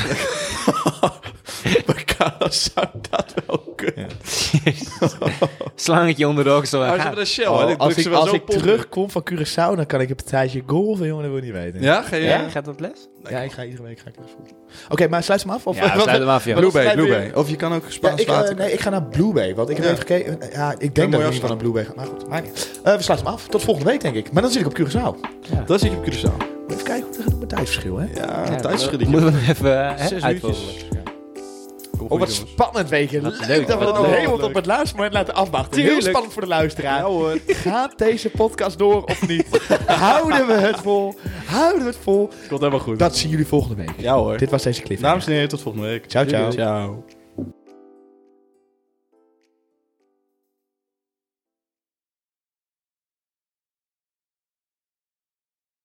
Speaker 1: bij Carlos zou dat wel kunnen.
Speaker 2: Slangetje onder de oksel.
Speaker 1: Maar ze hebben
Speaker 2: Ja.
Speaker 1: een Shell,
Speaker 3: Oh,
Speaker 1: hè? Ik
Speaker 3: als
Speaker 1: druk
Speaker 3: ik,
Speaker 1: ze wel
Speaker 3: als
Speaker 1: zo
Speaker 3: ik
Speaker 1: pompen.
Speaker 3: terugkom van Curaçao, dan kan ik een partijtje golven, jongen, dat wil je niet weten.
Speaker 1: Ja, ga je...
Speaker 2: Ja, gaat dat les?
Speaker 3: Ja, ik ga iedere week ga ik naar school. Oké, maar sluit hem af? Of,
Speaker 2: Ja, sluit hem af, joh.
Speaker 3: Wat-
Speaker 1: Blue Bay,
Speaker 3: Schrijf
Speaker 1: Blue
Speaker 3: weer-
Speaker 1: Bay. Of je kan ook
Speaker 3: Ja,
Speaker 1: Spaans
Speaker 3: ik, eh,
Speaker 1: water.
Speaker 3: nee, ik ga naar Blue Bay, want ik heb
Speaker 1: Ja.
Speaker 3: even gekeken. eh, Ja, ik
Speaker 1: mooie
Speaker 3: denk dat ik
Speaker 1: afspraak.
Speaker 3: van een Blue Bay ga. Maar goed, maakt niet. Eh, we sluiten hem af. Tot volgende week, denk ik. Maar dan zit ik op Curaçao.
Speaker 1: Dat zit je op Curaçao.
Speaker 3: Even kijken hoe het gaat met tijdsverschil, hè?
Speaker 1: Ja,
Speaker 2: Ja,
Speaker 1: een tijdsverschilletje.
Speaker 2: Moeten we nog even eh,
Speaker 1: Zes
Speaker 2: uitvogelen.
Speaker 1: uurtjes.
Speaker 3: Oh, wat spannend, weet je.
Speaker 2: Wat
Speaker 3: Leuk,
Speaker 2: leuk,
Speaker 3: dat we
Speaker 2: wat
Speaker 3: dat
Speaker 1: leuk.
Speaker 3: helemaal Oh, op het laatste moment laten afwachten. Heel
Speaker 1: Tuurlijk.
Speaker 3: spannend voor de luisteraar.
Speaker 1: Ja hoor.
Speaker 3: Gaat deze podcast door of niet? Houden we het vol? Houden we het vol?
Speaker 1: Komt helemaal goed.
Speaker 3: Dat zien jullie volgende week.
Speaker 1: Ja hoor.
Speaker 3: Dit was deze clip.
Speaker 1: Dames en heren, tot volgende week.
Speaker 3: Ciao, ciao.
Speaker 1: Ciao.